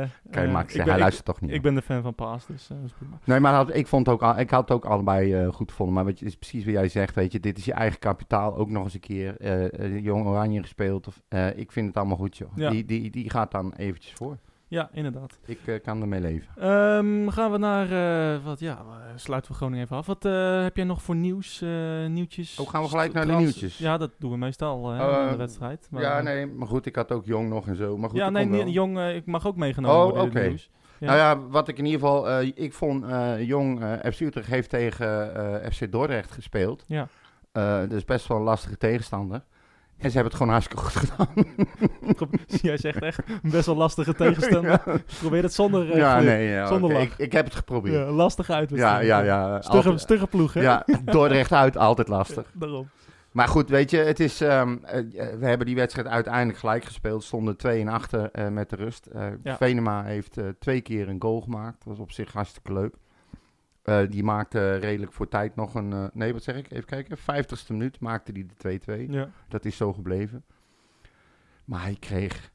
Speaker 2: eh,
Speaker 1: Kan je
Speaker 2: eh,
Speaker 1: Max
Speaker 2: ik
Speaker 1: zeggen,
Speaker 2: ben-
Speaker 1: hij
Speaker 2: ik-
Speaker 1: luistert toch niet.
Speaker 2: Ik ben de fan van Paas, dus eh, dat is prima.
Speaker 1: Nee, maar had- ik, vond het ook, al- ik had het ook allebei eh, goed gevonden. Maar weet je, het is precies wat jij zegt, weet je. Dit is je eigen kapitaal, ook nog eens een keer. eh, eh, Jong Oranje gespeeld. Of, eh, ik vind het allemaal goed, joh.
Speaker 2: Ja.
Speaker 1: Die, die, die gaat dan eventjes voor.
Speaker 2: Ja, inderdaad.
Speaker 1: Ik eh, kan ermee leven.
Speaker 2: Ehm, gaan we naar, eh, wat, ja, eh, sluiten we Groningen even af. Wat eh, heb jij nog voor nieuws, eh, nieuwtjes?
Speaker 1: Oh, gaan we gelijk naar de
Speaker 2: Trans-
Speaker 1: nieuwtjes?
Speaker 2: Ja, dat doen we meestal eh,
Speaker 1: Eh,
Speaker 2: aan de wedstrijd. maar-
Speaker 1: ja, nee, maar goed, ik had ook Jong nog en zo. Maar goed,
Speaker 2: ja,
Speaker 1: dat
Speaker 2: nee,
Speaker 1: komt wel.
Speaker 2: niet- Jong, eh, ik mag ook meegenomen
Speaker 1: Oh,
Speaker 2: worden in het
Speaker 1: oké.
Speaker 2: nieuws. Ja.
Speaker 1: Nou ja, wat ik in ieder geval... eh, ik vond eh, Jong... eh, FC Utrecht heeft tegen eh, FC Dordrecht gespeeld.
Speaker 2: Ja.
Speaker 1: Eh, dat is best wel een lastige tegenstander. En ze hebben het gewoon hartstikke goed gedaan.
Speaker 2: Jij zegt echt een best wel lastige tegenstander. Probeer het zonder... eh,
Speaker 1: ja,
Speaker 2: geluk.
Speaker 1: nee. ja,
Speaker 2: zonder
Speaker 1: oké,
Speaker 2: lach.
Speaker 1: Ik, ik heb het geprobeerd.
Speaker 2: Ja, lastige
Speaker 1: Ja,
Speaker 2: uitwedstrijd.
Speaker 1: ja, ja.
Speaker 2: Stugge,
Speaker 1: altijd-
Speaker 2: stugge ploeg, hè?
Speaker 1: ja, Dordrecht uit, altijd lastig.
Speaker 2: Daarom.
Speaker 1: Maar goed, weet je, het is, ehm, eh, we hebben die wedstrijd uiteindelijk gelijk gespeeld. Stonden 2 en achter eh, met de rust. Eh,
Speaker 2: Ja.
Speaker 1: Venema heeft eh, twee keer een goal gemaakt. was op zich hartstikke leuk. Eh, die maakte redelijk voor tijd nog een... eh, nee, wat zeg ik? Even kijken. 50ste minuut maakte die de 2-2.
Speaker 2: Ja.
Speaker 1: Dat is zo gebleven. Maar hij kreeg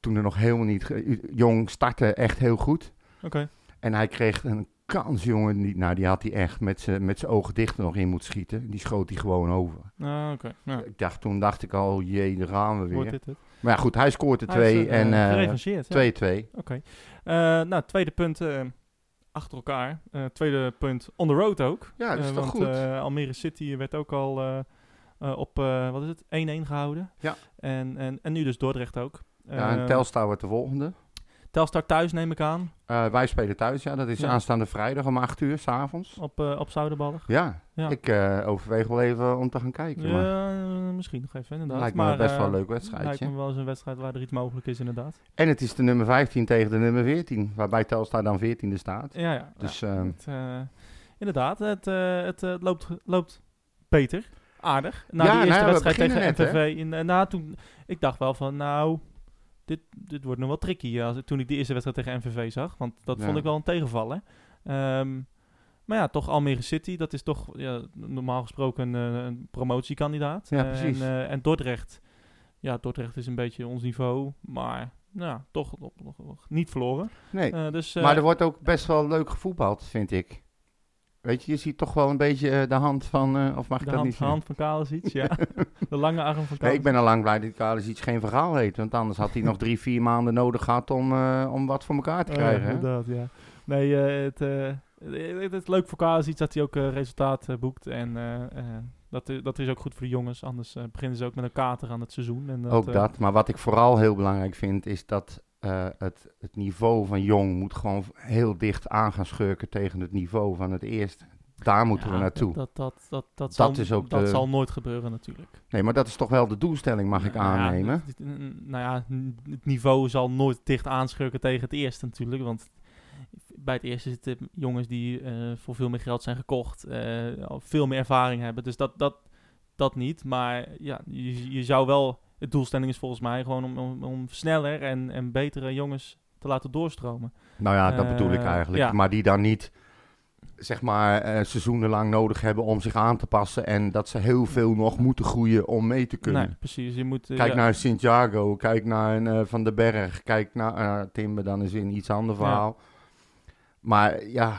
Speaker 1: toen er nog helemaal niet... ge- Jong startte echt heel goed.
Speaker 2: Oké.
Speaker 1: En hij kreeg een kans, jongen. Die, nou, die had hij echt met zijn met z'n ogen dicht er nog in moeten schieten. Die schoot hij gewoon over.
Speaker 2: Ah, oké. Nou,
Speaker 1: Ik dacht, toen dacht ik al, jee, daar gaan we weer.
Speaker 2: wordt dit het.
Speaker 1: Maar ja, goed, hij scoort er
Speaker 2: Hij is,
Speaker 1: twee
Speaker 2: eh,
Speaker 1: en eh, 2-2.
Speaker 2: gerevancheerd, ja. Oké. Eh, nou, tweede punt eh, achter elkaar. Eh, tweede punt on the road ook.
Speaker 1: Ja, dat is
Speaker 2: Eh,
Speaker 1: toch
Speaker 2: want,
Speaker 1: goed?
Speaker 2: eh, Almere City werd ook al eh, eh, op, eh, wat is het, 1-1 gehouden.
Speaker 1: Ja.
Speaker 2: En, en, en nu dus Dordrecht ook.
Speaker 1: ja, en
Speaker 2: Eh,
Speaker 1: Telstar wordt de volgende.
Speaker 2: Telstar thuis neem ik aan,
Speaker 1: Eh, wij spelen thuis, ja. Dat is
Speaker 2: Ja.
Speaker 1: aanstaande vrijdag om 8 uur s'avonds.
Speaker 2: op, eh op Zouderballig.
Speaker 1: Ja,
Speaker 2: Ja.
Speaker 1: ik eh, overweeg wel even om te gaan kijken. maar
Speaker 2: Ja, eh, misschien nog even, inderdaad.
Speaker 1: lijkt me wel best
Speaker 2: eh,
Speaker 1: wel een leuk
Speaker 2: Lijkt
Speaker 1: wedstrijdje.
Speaker 2: me wel eens een wedstrijd waar er iets mogelijk is, inderdaad.
Speaker 1: En het is de nummer 15 tegen de nummer 14, waarbij Telstar dan 14e staat.
Speaker 2: Ja, ja. ja.
Speaker 1: Dus ehm,
Speaker 2: Het, eh, inderdaad, het, eh, het eh, loopt, loopt beter. Aardig. Na
Speaker 1: Ja,
Speaker 2: die eerste
Speaker 1: nou ja, we
Speaker 2: wedstrijd tegen
Speaker 1: beginnen net,
Speaker 2: MTV. In, eh, na, toen, ik dacht wel van, nou, dit, dit wordt nog wel tricky. ja, als, toen ik die eerste wedstrijd tegen MVV zag. Want dat
Speaker 1: Ja.
Speaker 2: vond ik wel een tegenvaller. Ehm, maar ja, toch Almere City. Dat is toch ja, normaal gesproken een, eh, een promotiekandidaat.
Speaker 1: Ja,
Speaker 2: Eh,
Speaker 1: precies.
Speaker 2: En, eh, en Dordrecht. Ja, Dordrecht is een beetje ons niveau. Maar nou, ja, toch nog- nog- nog niet verloren.
Speaker 1: nee.
Speaker 2: Eh, dus, eh,
Speaker 1: maar er wordt ook best wel leuk gevoetbald, vind ik. Weet je, je ziet toch wel een beetje eh, de hand van... eh, of mag ik
Speaker 2: de
Speaker 1: dat
Speaker 2: hand,
Speaker 1: niet zeggen?
Speaker 2: hand van Kalisic, ja. de lange arm van Kalisic.
Speaker 1: Nee, ik ben al lang blij dat Kalis iets geen verhaal heet. Want anders had hij nog drie, vier maanden nodig gehad om, eh, om wat voor elkaar te
Speaker 2: Oh,
Speaker 1: krijgen. hè?
Speaker 2: inderdaad, ja. Nee, eh, het, eh, het, het is leuk voor Kalisic dat hij ook eh, resultaat eh, boekt. En eh, eh, dat, i- dat is ook goed voor de jongens. Anders eh, beginnen ze ook met een kater aan het seizoen. En dat,
Speaker 1: ook
Speaker 2: eh,
Speaker 1: dat. Maar wat ik vooral heel belangrijk vind, is dat eh, het, het niveau van Jong moet gewoon heel dicht aan gaan schurken tegen het niveau van het eerste. Daar moeten
Speaker 2: ja,
Speaker 1: we naartoe.
Speaker 2: Dat, dat, dat, dat,
Speaker 1: Dat
Speaker 2: zal,
Speaker 1: is ook
Speaker 2: dat
Speaker 1: de-
Speaker 2: zal nooit gebeuren natuurlijk.
Speaker 1: Nee, maar dat is toch wel de doelstelling, mag ik
Speaker 2: Nou ja,
Speaker 1: aannemen.
Speaker 2: het- het- nou ja, n- het niveau zal nooit dicht aanschurken tegen het eerste natuurlijk. Want bij het eerste zitten jongens die eh, voor veel meer geld zijn gekocht. eh, al veel meer ervaring hebben. Dus dat, dat, dat niet. Maar ja, je, je zou wel... De doelstelling is volgens mij gewoon om, om, om sneller en, en betere jongens te laten doorstromen.
Speaker 1: Nou ja, dat
Speaker 2: Eh,
Speaker 1: bedoel ik eigenlijk.
Speaker 2: ja.
Speaker 1: Maar die dan niet, zeg maar, eh, seizoenenlang nodig hebben om zich aan te passen. En dat ze heel veel nog moeten groeien om mee te kunnen.
Speaker 2: Nee, precies. Je moet, eh,
Speaker 1: Kijk
Speaker 2: ja,
Speaker 1: naar Santiago, kijk naar een, eh, Van den Berg, kijk naar eh, Timber, dan is een iets ander
Speaker 2: Ja.
Speaker 1: verhaal. Maar ja,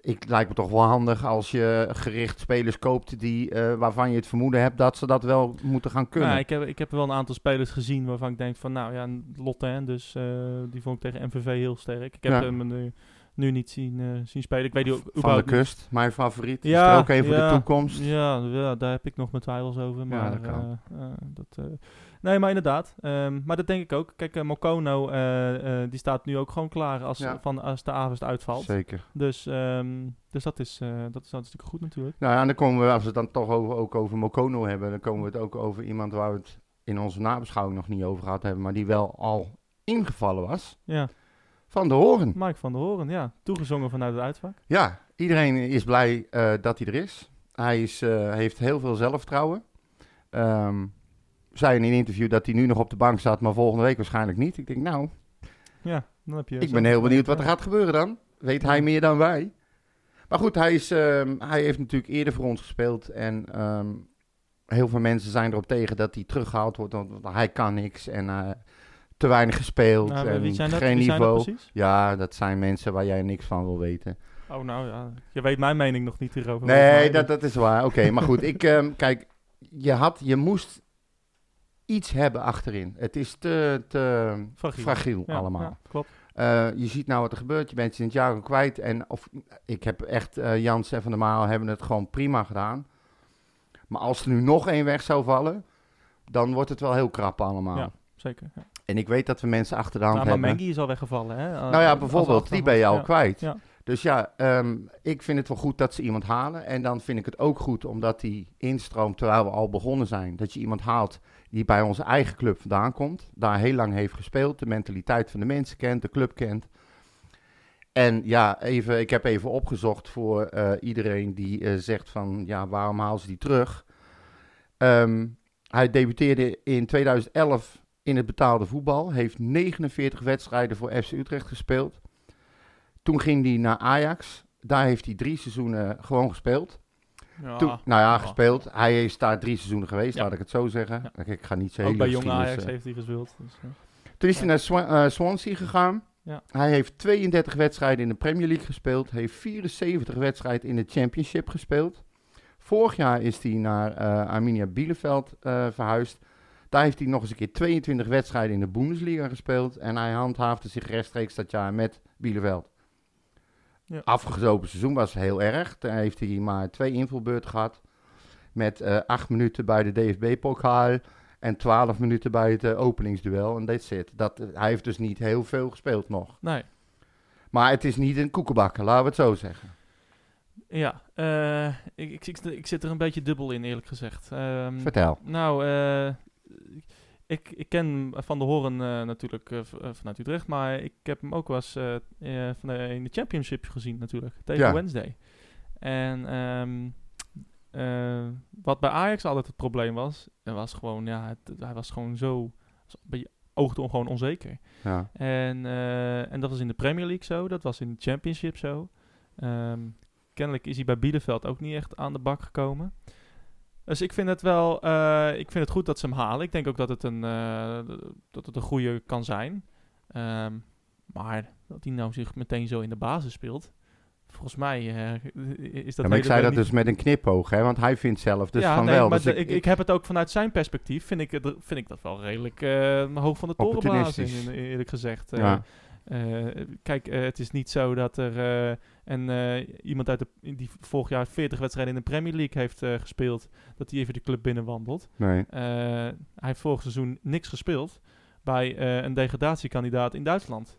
Speaker 1: ik lijkt me toch wel handig als je gericht spelers koopt die, eh, waarvan je het vermoeden hebt dat ze dat wel moeten gaan kunnen.
Speaker 2: Nou, ik, heb, ik heb wel een aantal spelers gezien waarvan ik denk van, nou ja, Lotte, hè, dus eh, die vond ik tegen MVV heel sterk. Ik heb
Speaker 1: Ja.
Speaker 2: hem een, eh, nu niet zien, eh, zien spelen. Ik weet die ook
Speaker 1: Van de
Speaker 2: überhaupt niet.
Speaker 1: Kust, mijn favoriet.
Speaker 2: Ja,
Speaker 1: is er ook een voor
Speaker 2: ja,
Speaker 1: de toekomst.
Speaker 2: Ja, ja, daar heb ik nog mijn twijfels over. Maar,
Speaker 1: dat kan.
Speaker 2: eh, eh, dat, eh, nee, maar inderdaad. ehm, maar dat denk ik ook. Kijk, eh, Mokono, eh, eh, die staat nu ook gewoon klaar als,
Speaker 1: Ja.
Speaker 2: van, als de avond uitvalt.
Speaker 1: Zeker.
Speaker 2: Dus, ehm, dus dat, is, eh dat is hartstikke goed natuurlijk.
Speaker 1: Nou ja, en dan komen we, als we het dan toch over, ook over Mokono hebben, dan komen we het ook over iemand waar we het in onze nabeschouwing nog niet over gehad hebben, maar die wel al ingevallen was.
Speaker 2: Ja,
Speaker 1: Van de Horen.
Speaker 2: Mike van der Horen, ja. Toegezongen vanuit het uitvak.
Speaker 1: Ja, iedereen is blij eh, dat hij er is. Hij is, eh, heeft heel veel zelfvertrouwen. Ehm zei in een interview dat hij nu nog op de bank zat, maar volgende week waarschijnlijk niet. Ik denk, nou,
Speaker 2: Ja, dan heb je...
Speaker 1: Ik ben
Speaker 2: zelf-
Speaker 1: heel benieuwd wat er gaat gebeuren dan. Weet hij meer dan wij? Maar goed, hij, is, ehm, hij heeft natuurlijk eerder voor ons gespeeld. En ehm, heel veel mensen zijn erop tegen dat hij teruggehaald wordt. Want hij kan niks en eh, te weinig gespeeld.
Speaker 2: Nou,
Speaker 1: en
Speaker 2: wie zijn dat?
Speaker 1: geen
Speaker 2: Wie zijn dat
Speaker 1: niveau.
Speaker 2: precies?
Speaker 1: ja, dat zijn mensen waar jij niks van wil weten.
Speaker 2: Oh, nou ja. Je weet mijn mening nog niet hierover. volgens
Speaker 1: Nee,
Speaker 2: mij.
Speaker 1: dat, dat is waar. Oké, maar goed. Ik, ehm, kijk, je, had, je moest iets hebben achterin. Het is te, te
Speaker 2: Fragiel.
Speaker 1: fragiel
Speaker 2: Ja,
Speaker 1: allemaal.
Speaker 2: ja, klopt.
Speaker 1: Eh, je ziet nou wat er gebeurt. Je bent Santiago kwijt. En of, ik heb echt, eh Jans en Van der Maal hebben het gewoon prima gedaan. Maar als er nu nog één weg zou vallen, dan wordt het wel heel krap allemaal.
Speaker 2: Ja. Zeker. Ja.
Speaker 1: En ik weet dat we mensen achter de hand
Speaker 2: Nou, maar
Speaker 1: hebben.
Speaker 2: Mengi is al weggevallen, hè?
Speaker 1: nou ja, bijvoorbeeld, die ben je al kwijt.
Speaker 2: eh, Ja.
Speaker 1: Dus ja, ehm, ik vind het wel goed dat ze iemand halen. En dan vind ik het ook goed, omdat die instroomt terwijl we al begonnen zijn. Dat je iemand haalt die bij onze eigen club vandaan komt. Daar heel lang heeft gespeeld. De mentaliteit van de mensen kent, de club kent. En ja, even, ik heb even opgezocht voor eh, iedereen die eh, zegt van... Ja, waarom halen ze die terug? Ehm, hij debuteerde in 2011 in het betaalde voetbal. Heeft 49 wedstrijden voor FC Utrecht gespeeld. Toen ging hij naar Ajax. Daar heeft hij drie seizoenen gewoon gespeeld.
Speaker 2: Ja.
Speaker 1: Toen, nou ja,
Speaker 2: Ah.
Speaker 1: gespeeld. Hij is daar drie seizoenen geweest,
Speaker 2: Ja.
Speaker 1: laat ik het zo zeggen.
Speaker 2: Ja.
Speaker 1: Kijk, Ik ga niet zijn
Speaker 2: Ook
Speaker 1: hele
Speaker 2: bij jonge
Speaker 1: geschiedenis,
Speaker 2: Ajax
Speaker 1: eh.
Speaker 2: heeft hij gespeeld. Dus, eh.
Speaker 1: Toen is hij naar Swa- eh, Swansea gegaan.
Speaker 2: Ja.
Speaker 1: Hij heeft 32 wedstrijden in de Premier League gespeeld. Heeft 74 wedstrijden in de Championship gespeeld. Vorig jaar is hij naar eh, Arminia Bielefeld eh, verhuisd. Daar heeft hij nog eens een keer 22 wedstrijden in de Bundesliga gespeeld. En hij handhaafde zich rechtstreeks dat jaar met Bielefeld.
Speaker 2: Ja.
Speaker 1: Afgelopen seizoen was heel erg. Daar heeft hij maar twee invalbeurten gehad. Met eh acht minuten bij de DFB-pokaal. En 12 minuten bij het eh, openingsduel. En that's it. dat zit. hij heeft dus niet heel veel gespeeld nog.
Speaker 2: Nee.
Speaker 1: Maar het is niet een koekenbak, laten we het zo zeggen.
Speaker 2: Ja, eh, ik, ik, ik, ik zit er een beetje dubbel in, eerlijk gezegd. Ehm,
Speaker 1: Vertel.
Speaker 2: Nou, eh, ik, ik ken Van der Horen eh, natuurlijk eh, v- eh, vanuit Utrecht, maar ik heb hem ook wel eens eh, eh, van de, in de championship gezien natuurlijk, tegen
Speaker 1: Ja.
Speaker 2: Wednesday. En ehm, eh, wat bij Ajax altijd het probleem was, eh, was gewoon, ja, het- hij was gewoon zo, bij oogde gewoon onzeker.
Speaker 1: Ja.
Speaker 2: En, eh, en dat was in de Premier League zo, dat was in de Championship zo. Ehm, kennelijk is hij bij Bielefeld ook niet echt aan de bak gekomen. Dus ik vind het wel, eh, ik vind het goed dat ze hem halen. Ik denk ook dat het een, eh, dat het een goede kan zijn. Ehm, maar dat hij nou zich meteen zo in de basis speelt. Volgens mij eh, is dat.
Speaker 1: Ja, maar ik
Speaker 2: hele
Speaker 1: zei dat
Speaker 2: niet-
Speaker 1: dus met een knipoog, hè? want hij vindt zelf dus
Speaker 2: ja,
Speaker 1: van
Speaker 2: nee,
Speaker 1: wel.
Speaker 2: Maar
Speaker 1: Dus
Speaker 2: de- ik, ik heb het ook vanuit zijn perspectief. Vind ik, het- vind ik dat wel redelijk eh, hoog van de toren blazen,
Speaker 1: Opportunistisch.
Speaker 2: in- eerlijk gezegd. Eh,
Speaker 1: Ja.
Speaker 2: eh, kijk, eh, het is niet zo dat er eh, een, eh, iemand uit de, die vorig jaar 40 wedstrijden in de Premier League heeft eh, gespeeld, dat die even de club binnenwandelt.
Speaker 1: nee.
Speaker 2: Eh, hij heeft vorig seizoen niks gespeeld bij eh, een degradatiekandidaat in Duitsland.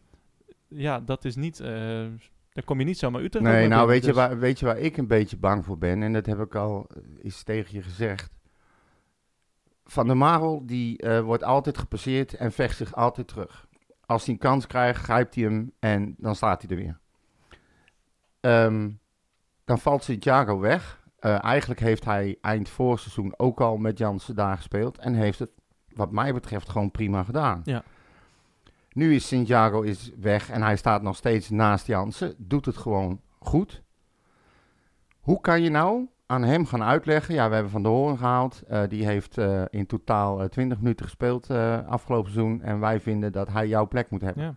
Speaker 2: Ja, dat is niet. eh, daar kom je niet zomaar Utrecht ook
Speaker 1: nee,
Speaker 2: mee
Speaker 1: nou
Speaker 2: binnen,
Speaker 1: weet, je
Speaker 2: dus-
Speaker 1: waar, weet je waar ik een beetje bang voor ben? En dat heb ik al eens tegen je gezegd. Van der Marel, die eh, wordt altijd gepasseerd en vecht zich altijd terug. Als hij een kans krijgt, grijpt hij hem en dan staat hij er weer. Ehm, dan valt Santiago weg. Eh, eigenlijk heeft hij eind voorseizoen ook al met Jansen daar gespeeld. En heeft het, wat mij betreft, gewoon prima gedaan.
Speaker 2: Ja.
Speaker 1: Nu is Santiago is weg en hij staat nog steeds naast Jansen. Doet het gewoon goed. Hoe kan je nou aan hem gaan uitleggen? Ja, we hebben Van de Hoorn gehaald. Eh, die heeft eh, in totaal eh, 20 minuten gespeeld eh, afgelopen seizoen. En wij vinden dat hij jouw plek moet hebben.
Speaker 2: Ja.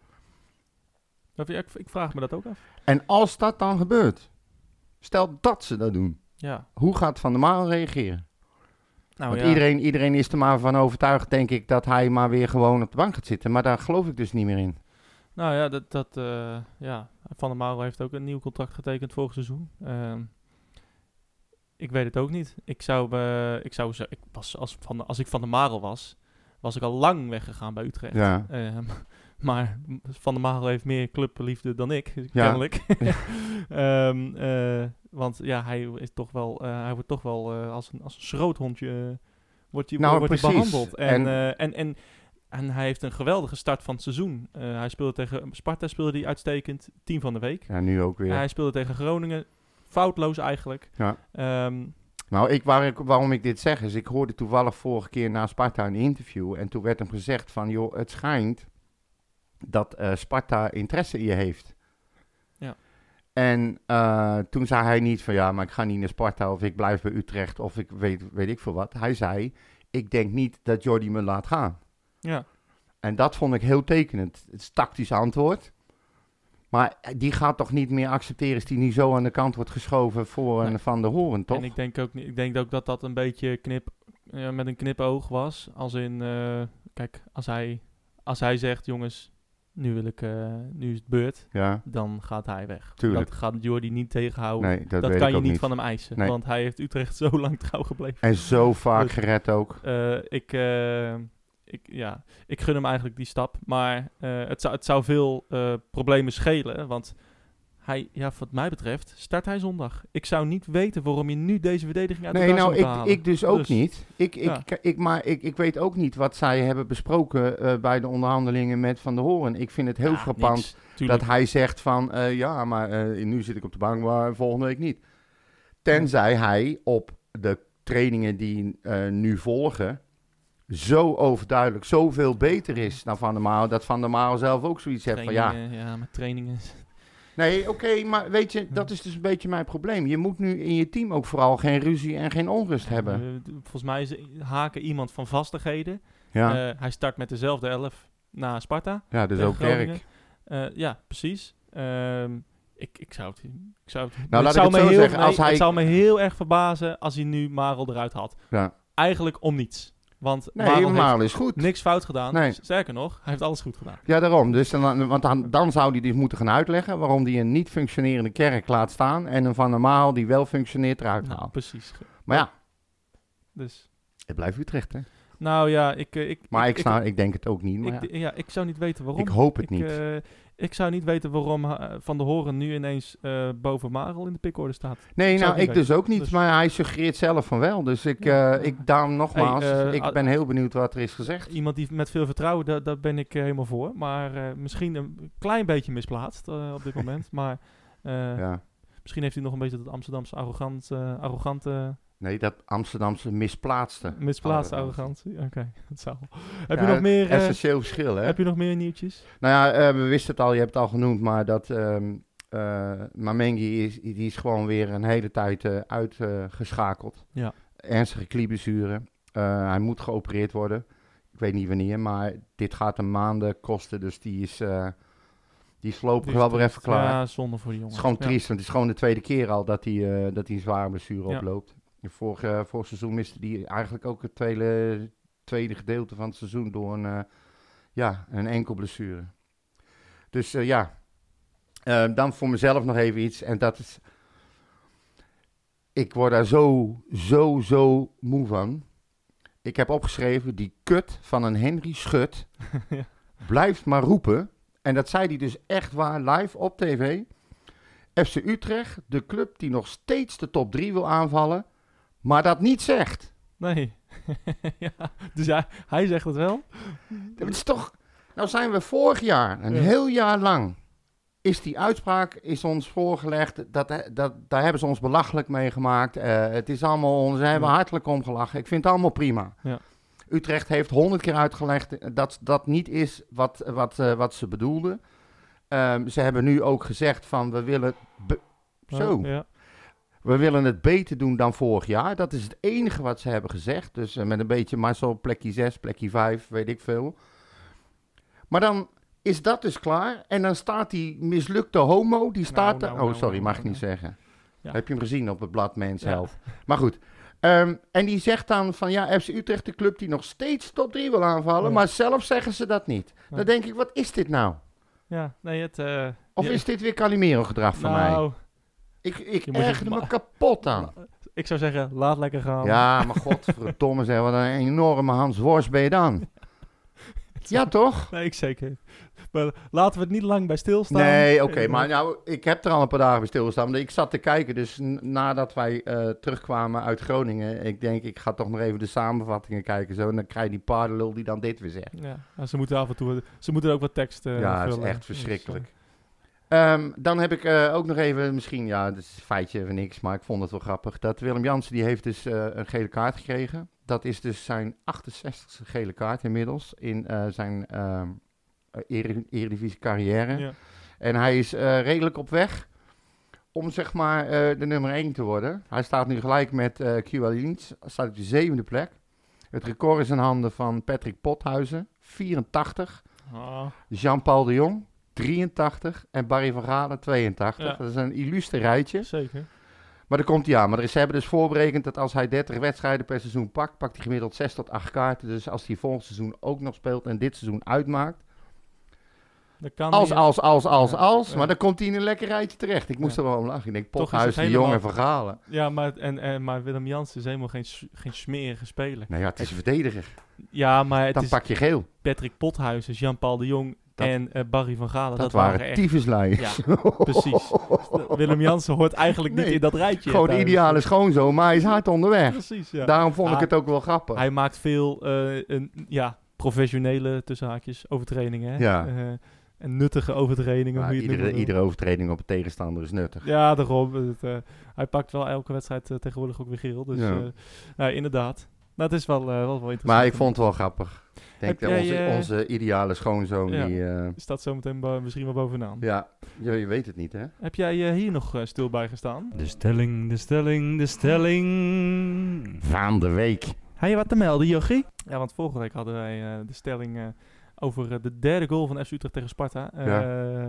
Speaker 2: Dat- ja, Ik, ik vraag me dat ook af.
Speaker 1: En als dat dan gebeurt, stel dat ze dat doen.
Speaker 2: Ja.
Speaker 1: Hoe gaat Van der Maal reageren?
Speaker 2: Nou,
Speaker 1: Want iedereen, iedereen is er maar van overtuigd, denk ik, dat hij maar weer gewoon op de bank gaat zitten. Maar daar geloof ik dus niet meer in.
Speaker 2: Nou ja, dat, dat, eh, ja, Van der Marel heeft ook een nieuw contract getekend vorig seizoen. Ehm, ik weet het ook niet. Ik zou, eh, ik zou ze- ik was als, van, de- als ik Van der Marel was, was ik al lang weggegaan bij Utrecht.
Speaker 1: Ja.
Speaker 2: Ehm, maar Van der Marel heeft meer clubliefde dan ik, dus kennelijk. Ehm, eh, want ja, hij, is toch wel, eh, hij wordt toch wel eh, als, een, als een schroothondje eh, wordt hij,
Speaker 1: Nou,
Speaker 2: wordt hij
Speaker 1: precies.
Speaker 2: behandeld. En,
Speaker 1: En-
Speaker 2: eh, en, en, en hij heeft een geweldige start van het seizoen. Eh, hij speelde tegen Sparta speelde hij uitstekend, team van de week.
Speaker 1: Ja, nu ook weer.
Speaker 2: Hij speelde tegen Groningen, foutloos eigenlijk.
Speaker 1: Ja.
Speaker 2: Ehm,
Speaker 1: Nou, ik, waar ik, waarom ik dit zeg is, ik hoorde toevallig vorige keer na Sparta een interview en toen werd hem gezegd van, joh, het schijnt dat eh, Sparta interesse in je heeft.
Speaker 2: Ja.
Speaker 1: En eh, toen zei hij niet van, ja, maar ik ga niet naar Sparta of ik blijf bij Utrecht of ik weet, weet ik veel wat. Hij zei, ik denk niet dat Jordi me laat gaan.
Speaker 2: ja.
Speaker 1: En dat vond ik heel tekenend. Het is tactisch antwoord. Maar eh, die gaat toch niet meer accepteren als die niet zo aan de kant wordt geschoven voor een
Speaker 2: Nee.
Speaker 1: Van der Hoorn, toch?
Speaker 2: En ik denk, ook, niet- ik denk ook dat dat een beetje knip, eh, met een knipoog was. Als in, eh, kijk, als hij, als hij zegt, jongens, nu, wil ik, eh, nu is het beurt,
Speaker 1: Ja.
Speaker 2: dan gaat hij weg.
Speaker 1: Tuurlijk.
Speaker 2: Dat gaat Jordi niet tegenhouden.
Speaker 1: Nee, dat,
Speaker 2: Oh, dat
Speaker 1: weet
Speaker 2: kan
Speaker 1: ik
Speaker 2: je
Speaker 1: ook
Speaker 2: niet, van hem eisen,
Speaker 1: Nee.
Speaker 2: want hij heeft Utrecht zo lang trouw gebleven.
Speaker 1: En zo vaak
Speaker 2: Dus-
Speaker 1: gered ook.
Speaker 2: Eh, ik, eh, ik, ja, ik gun hem eigenlijk die stap. Maar eh, het, zou, het zou veel eh, problemen schelen. Want hij, ja, wat mij betreft, start hij zondag. Ik zou niet weten waarom je nu deze verdediging uit de
Speaker 1: Nee,
Speaker 2: kast
Speaker 1: nou,
Speaker 2: moet
Speaker 1: ik,
Speaker 2: halen.
Speaker 1: ik dus ook
Speaker 2: Dus,
Speaker 1: niet. Ik, ik,
Speaker 2: ja.
Speaker 1: ik, maar ik, ik weet ook niet wat zij hebben besproken eh, bij de onderhandelingen met Van der Hoorn. Ik vind het heel
Speaker 2: ja,
Speaker 1: frappant
Speaker 2: niks,
Speaker 1: dat
Speaker 2: tuurlijk.
Speaker 1: hij zegt van, eh, ja, maar eh, nu zit ik op de bank, maar volgende week niet. Tenzij hij op de trainingen die eh, nu volgen, zo overduidelijk, zoveel beter is dan Van der Maal, dat Van der Maal zelf ook zoiets heeft van, ja,
Speaker 2: Trainingen, ja, maar trainingen.
Speaker 1: Nee, oké, maar weet je, dat is dus een beetje mijn probleem. Je moet nu in je team ook vooral geen ruzie en geen onrust hebben.
Speaker 2: Eh, volgens mij is haken iemand van vastigheden.
Speaker 1: Ja,
Speaker 2: Eh, hij start met dezelfde elf na Sparta.
Speaker 1: ja dus
Speaker 2: tegen
Speaker 1: ook
Speaker 2: Groningen.
Speaker 1: werk.
Speaker 2: Eh, ja, precies. Ehm, ik, ik zou het... Ik zou het,
Speaker 1: Nou, laat ik
Speaker 2: zou
Speaker 1: het
Speaker 2: me
Speaker 1: zo
Speaker 2: heel,
Speaker 1: zeggen,
Speaker 2: nee,
Speaker 1: als hij-
Speaker 2: het zou me heel erg verbazen als hij nu Marel eruit had.
Speaker 1: Ja.
Speaker 2: Eigenlijk om niets. Want
Speaker 1: Nee,
Speaker 2: Marel
Speaker 1: helemaal is goed.
Speaker 2: heeft niks fout gedaan.
Speaker 1: Nee.
Speaker 2: Sterker nog, hij heeft alles goed gedaan.
Speaker 1: Ja, daarom. Dus dan, want dan, dan zou hij dus moeten gaan uitleggen waarom hij een niet functionerende kerk laat staan en een Van der Maal die wel functioneert eruit
Speaker 2: Nou,
Speaker 1: haalt.
Speaker 2: precies.
Speaker 1: Maar ja,
Speaker 2: Dus,
Speaker 1: het blijft Utrecht, hè.
Speaker 2: nou ja, ik... eh, ik
Speaker 1: Maar ik, snap, ik, denk het ook niet, maar
Speaker 2: ik,
Speaker 1: ja,
Speaker 2: ja, ik zou niet weten waarom.
Speaker 1: ik hoop het
Speaker 2: ik,
Speaker 1: niet.
Speaker 2: eh, ik zou niet weten waarom eh, Van der Horen nu ineens eh, boven Marel in de pickorde staat.
Speaker 1: nee,
Speaker 2: zou
Speaker 1: nou,
Speaker 2: het
Speaker 1: ik
Speaker 2: niet
Speaker 1: dus ook niet,
Speaker 2: Dus-
Speaker 1: maar hij suggereert zelf van wel. Dus ik,
Speaker 2: Ja.
Speaker 1: eh, ik daarom nogmaals,
Speaker 2: Hey, eh,
Speaker 1: ik
Speaker 2: a-
Speaker 1: ben heel benieuwd wat er is gezegd.
Speaker 2: Iemand die met veel vertrouwen, daar, daar ben ik eh, helemaal voor. Maar eh, misschien een klein beetje misplaatst eh, op dit moment. maar eh,
Speaker 1: Ja.
Speaker 2: misschien heeft hij nog een beetje dat Amsterdamse arrogant, eh, arrogante, eh,
Speaker 1: Nee, dat Amsterdamse misplaatste.
Speaker 2: misplaatste
Speaker 1: Arrogant.
Speaker 2: arrogantie. Oké, dat zou. Heb,
Speaker 1: Ja,
Speaker 2: je nog meer, eh,
Speaker 1: Essentieel verschil, hè?
Speaker 2: heb je nog meer nieuwtjes?
Speaker 1: Nou ja, eh, we wisten het al, je hebt het al genoemd, maar dat ehm eh, Mamengi is, die is gewoon weer een hele tijd eh, uitgeschakeld.
Speaker 2: Ja.
Speaker 1: Ernstige knieblessure. Eh, hij moet geopereerd worden. Ik weet niet wanneer, maar dit gaat een maanden kosten, dus die is, eh die is voorlopig wel weer even klaar.
Speaker 2: Ja, zonde voor die jongen.
Speaker 1: Het is gewoon
Speaker 2: Ja.
Speaker 1: triest, want het is gewoon de tweede keer al dat hij, eh, dat hij een zware blessure
Speaker 2: Ja.
Speaker 1: oploopt. Vorig, eh, vorig seizoen miste hij eigenlijk ook het tweede, tweede gedeelte van het seizoen door een, eh, ja, een enkel blessure. Dus eh, ja, Eh, dan voor mezelf nog even iets. En dat is, ik word daar zo, zo, zo moe van. Ik heb opgeschreven, die kut van een Henry Schut
Speaker 2: Ja.
Speaker 1: blijft maar roepen. En dat zei hij dus echt waar live op tv. FC Utrecht, de club die nog steeds de top 3 wil aanvallen, maar dat niet zegt.
Speaker 2: Nee. ja, dus hij, hij zegt het wel.
Speaker 1: Dat is toch. Nou zijn we vorig jaar, een
Speaker 2: Ja.
Speaker 1: heel jaar lang, is die uitspraak is ons voorgelegd. Dat, dat, daar hebben ze ons belachelijk mee gemaakt. Eh, het is allemaal, ons- ze hebben
Speaker 2: Ja.
Speaker 1: hartelijk omgelachen. Ik vind het allemaal prima.
Speaker 2: Ja.
Speaker 1: Utrecht heeft honderd keer uitgelegd dat dat niet is wat, wat, eh, wat ze bedoelden. Ehm, ze hebben nu ook gezegd van we willen. be- Zo.
Speaker 2: Oh, Ja.
Speaker 1: We willen het beter doen dan vorig jaar. Dat is het enige wat ze hebben gezegd. Dus eh, met een beetje Marcel, plekje 6, plekje 5, weet ik veel. Maar dan is dat dus klaar. En dan staat die mislukte homo, die staat
Speaker 2: nou,
Speaker 1: er...
Speaker 2: nou,
Speaker 1: oh, sorry,
Speaker 2: nou,
Speaker 1: mag ik
Speaker 2: nou,
Speaker 1: niet zeggen.
Speaker 2: Ja.
Speaker 1: Heb je hem gezien op het blad Mens
Speaker 2: Ja.
Speaker 1: Health? Maar goed. Ehm, en die zegt dan van, ja, FC Utrecht, de club die nog steeds top 3 wil aanvallen.
Speaker 2: Ja.
Speaker 1: Maar zelf zeggen ze dat niet.
Speaker 2: Ja.
Speaker 1: Dan denk ik, wat is dit nou?
Speaker 2: Ja, nee, het... eh,
Speaker 1: Of
Speaker 2: ja,
Speaker 1: is dit weer Calimero gedrag van mij?
Speaker 2: nou,
Speaker 1: Ik, ik
Speaker 2: je moet je-
Speaker 1: ergerde me
Speaker 2: maar-
Speaker 1: kapot aan.
Speaker 2: ik zou zeggen, laat lekker gaan.
Speaker 1: Ja, maar godverdomme zeg, wat een enorme Hans Worst ben je dan. Ja, toch?
Speaker 2: Nee, ik zeker. Maar laten we het niet lang bij stilstaan.
Speaker 1: Nee, oké,
Speaker 2: Eh,
Speaker 1: maar nou, ik heb er al een paar dagen bij stilgestaan. want Ik zat te kijken, dus n- nadat wij eh, terugkwamen uit Groningen, ik denk, ik ga toch nog even de samenvattingen kijken, zo, en dan krijg je die paardenlul die dan dit weer zegt.
Speaker 2: Ja, nou, ze moeten af en toe... Ze moeten ook wat tekst eh,
Speaker 1: ja, het is
Speaker 2: vullen.
Speaker 1: echt
Speaker 2: Dus,
Speaker 1: verschrikkelijk. Ehm, dan heb ik eh, ook nog even, misschien, ja, het is een feitje van niks, maar ik vond het wel grappig. Dat Willem Jansen, die heeft dus eh, een gele kaart gekregen. Dat is dus zijn 68ste gele kaart inmiddels in eh, zijn ehm ere- eredivisie
Speaker 2: eh,
Speaker 1: carrière.
Speaker 2: ja.
Speaker 1: En hij is eh, redelijk op weg om zeg maar eh, de nummer 1 te worden. Hij staat nu gelijk met eh Q staat op de zevende plek. Het record is in handen van Patrick Pothuizen, 84.
Speaker 2: Ah,
Speaker 1: Jean-Paul de Jong, 83. En Barry van Galen, 82.
Speaker 2: Ja.
Speaker 1: Dat is een illustre rijtje.
Speaker 2: zeker.
Speaker 1: Maar daar komt hij aan. Maar er is, ze hebben dus voorberekend dat als hij 30 wedstrijden per seizoen pakt, pakt hij gemiddeld 6 tot 8 kaarten. Dus als hij volgend seizoen ook nog speelt en dit seizoen uitmaakt.
Speaker 2: Dan kan
Speaker 1: Als,
Speaker 2: hij-
Speaker 1: als, als, als,
Speaker 2: Ja.
Speaker 1: als.
Speaker 2: Ja.
Speaker 1: Maar dan komt hij in een lekker rijtje terecht. Ik moest
Speaker 2: Ja.
Speaker 1: er wel om lachen. Ik denk,
Speaker 2: Toch is
Speaker 1: Pothuis,
Speaker 2: het
Speaker 1: de Jong en
Speaker 2: helemaal-
Speaker 1: van Galen.
Speaker 2: Ja, maar, en, en, maar Willem Jansen is helemaal geen, s- geen smerige speler.
Speaker 1: Nou ja, het is een verdediger.
Speaker 2: Ja, maar het
Speaker 1: Dan
Speaker 2: is Oh,
Speaker 1: pak je geel.
Speaker 2: Patrick Pothuizen, Jean-Paul de Jong
Speaker 1: Dat-
Speaker 2: en eh, Barry van Galen.
Speaker 1: Dat,
Speaker 2: Dat,
Speaker 1: waren
Speaker 2: echt...
Speaker 1: tyfusluiers.
Speaker 2: Ja, precies. Willem Jansen hoort eigenlijk niet
Speaker 1: Nee,
Speaker 2: in dat rijtje.
Speaker 1: Gewoon de
Speaker 2: thuis.
Speaker 1: ideale schoonzoon, maar hij is hard onderweg.
Speaker 2: Precies, ja.
Speaker 1: Daarom vond ik
Speaker 2: Ah,
Speaker 1: het ook wel grappig.
Speaker 2: Hij maakt veel eh, een, ja, professionele, tussen haakjes, overtredingen. Hè?
Speaker 1: Ja.
Speaker 2: Eh, en nuttige overtredingen,
Speaker 1: Maar
Speaker 2: hoe je het
Speaker 1: iedere,
Speaker 2: noemen wil.
Speaker 1: iedere overtreding op een tegenstander is nuttig.
Speaker 2: Ja, daarom. Het, eh, hij pakt wel elke wedstrijd eh, tegenwoordig ook weer geel. Dus
Speaker 1: Ja.
Speaker 2: eh, nou, inderdaad. Nou, het is wel, eh, wel, wel interessant.
Speaker 1: Maar ik vond het wel grappig. Ik denk
Speaker 2: Heb
Speaker 1: dat
Speaker 2: jij,
Speaker 1: onze,
Speaker 2: eh,
Speaker 1: onze ideale schoonzoon,
Speaker 2: Ja.
Speaker 1: die... eh,
Speaker 2: Staat zometeen bo- misschien wel bovenaan.
Speaker 1: ja, je, je weet het niet, hè?
Speaker 2: Heb jij eh, hier nog eh, stil bij gestaan?
Speaker 7: De stelling, de stelling, de stelling.
Speaker 1: Van de week.
Speaker 2: Hij je wat te melden, Jochie? Ja, want vorige week hadden wij eh, de stelling eh, over eh, de derde goal van FC Utrecht tegen Sparta. Eh,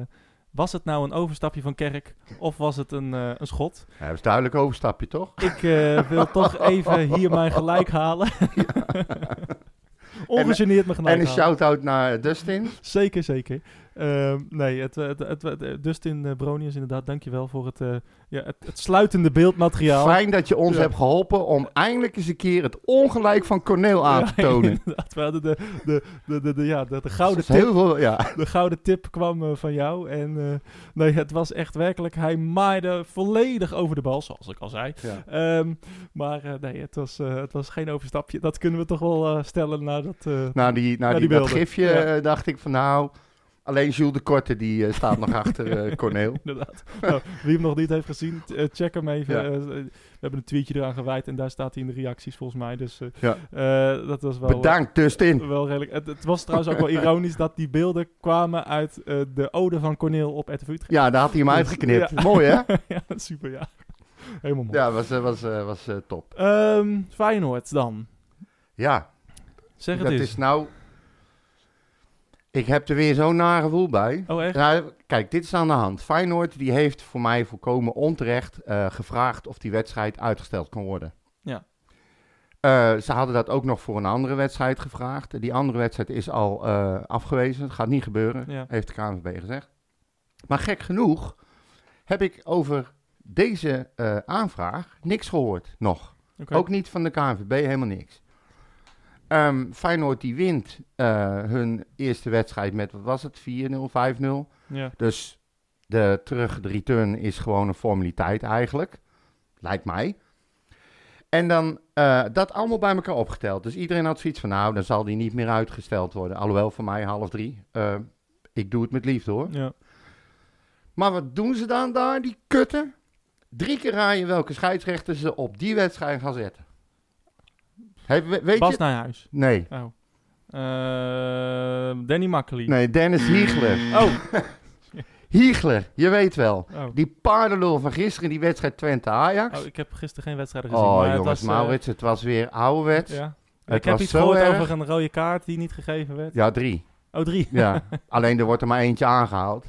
Speaker 2: Was het nou een overstapje van Kerk of was het een, eh, een schot?
Speaker 1: Ja, dat is duidelijk een overstapje, toch?
Speaker 2: Ik eh, wil toch even hier mijn gelijk halen. Ongegeneerd mijn gelijk
Speaker 1: en een
Speaker 2: halen.
Speaker 1: shout-out naar Dustin.
Speaker 2: Zeker, zeker. Ehm, nee, het, het, het, het- Dustin eh, Bronius inderdaad, dankjewel voor het, eh, ja, het, het sluitende beeldmateriaal.
Speaker 1: Fijn dat je ons
Speaker 2: Ja.
Speaker 1: hebt geholpen om eindelijk eens een keer het ongelijk van Corneel aan
Speaker 2: Ja,
Speaker 1: te tonen.
Speaker 2: inderdaad. We hadden de, de, de, de, de- ja, de, Nou, de gouden
Speaker 1: Dat is
Speaker 2: tip.
Speaker 1: heel veel, ja.
Speaker 2: De gouden tip kwam eh, van jou. En eh, nee, het was echt werkelijk. Hij maaide volledig over de bal, zoals ik al zei.
Speaker 1: Ja.
Speaker 2: Ehm, maar eh, nee, het was, eh, het was geen overstapje. Dat kunnen we toch wel eh, stellen na dat. eh,
Speaker 1: Na die, na
Speaker 2: Ja,
Speaker 1: die,
Speaker 2: die
Speaker 1: dat
Speaker 2: beelden.
Speaker 1: gifje
Speaker 2: Ja.
Speaker 1: eh, dacht ik van nou... Alleen Jules de Korte, die eh, staat nog achter eh Corneel.
Speaker 2: Inderdaad. Nou, wie hem nog niet heeft gezien, t- eh, check hem even.
Speaker 1: Ja.
Speaker 2: Eh, eh, we hebben een tweetje eraan gewijd en daar staat hij in de reacties volgens mij. Dus eh,
Speaker 1: Ja.
Speaker 2: eh, dat was wel. eh,
Speaker 1: Bedankt, Dustin.
Speaker 2: Wel redelijk. Het, het was trouwens ook wel ironisch dat die beelden kwamen uit eh, de ode van Corneel op RTV Utrecht.
Speaker 1: Ja, daar had hij hem
Speaker 2: Dus,
Speaker 1: uitgeknipt.
Speaker 2: ja.
Speaker 1: Mooi, hè?
Speaker 2: ja, super, ja. Helemaal mooi.
Speaker 1: Ja, was, eh, was, eh, was eh, top.
Speaker 2: Ehm, Feyenoord dan.
Speaker 1: Ja,
Speaker 2: Zeg het
Speaker 1: dat
Speaker 2: eens.
Speaker 1: is nou. Ik heb er weer zo'n naar gevoel bij.
Speaker 2: Oh, echt?
Speaker 1: Nou, kijk, dit is aan de hand. Feyenoord die heeft voor mij volkomen onterecht eh, gevraagd of die wedstrijd uitgesteld kan worden.
Speaker 2: Ja.
Speaker 1: Eh, ze hadden dat ook nog voor een andere wedstrijd gevraagd. Die andere wedstrijd is al eh, afgewezen. Het gaat niet gebeuren,
Speaker 2: Ja.
Speaker 1: heeft de KNVB gezegd. Maar gek genoeg heb ik over deze eh, aanvraag niks gehoord nog.
Speaker 2: Oké.
Speaker 1: Ook niet van de KNVB, helemaal niks. Ehm, Feyenoord die wint eh, hun eerste wedstrijd met, wat was het, 4-0, 5-0.
Speaker 2: Ja.
Speaker 1: Dus de terug, de return is gewoon een formaliteit eigenlijk, lijkt mij. En dan eh, dat allemaal bij elkaar opgeteld. Dus iedereen had zoiets van, nou, dan zal die niet meer uitgesteld worden. Alhoewel, voor mij half drie. Eh, ik doe het met liefde hoor.
Speaker 2: ja.
Speaker 1: Maar wat doen ze dan daar, die kutten? Drie keer raaien welke scheidsrechter ze op die wedstrijd gaan zetten. Hey, we- weet
Speaker 2: Bas
Speaker 1: je?
Speaker 2: Nijhuis.
Speaker 1: Nee.
Speaker 2: Oh. Ehm, Danny Makkely.
Speaker 1: Nee, Dennis Hiegler.
Speaker 2: Oh.
Speaker 1: Hiegler, je weet wel.
Speaker 2: Oh.
Speaker 1: Die paardenlul van gisteren in die wedstrijd Twente-Ajax.
Speaker 2: oh, ik heb gisteren geen wedstrijden
Speaker 1: Oh,
Speaker 2: gezien. maar het
Speaker 1: jongens,
Speaker 2: was, eh,
Speaker 1: Maurits, het was weer ouderwets. Ja,
Speaker 2: ja.
Speaker 1: Het
Speaker 2: ik heb
Speaker 1: was
Speaker 2: iets
Speaker 1: zo
Speaker 2: gehoord
Speaker 1: erg.
Speaker 2: over een rode kaart die niet gegeven werd.
Speaker 1: drie.
Speaker 2: Oh, drie.
Speaker 1: Ja. Alleen er wordt er maar eentje aangehaald.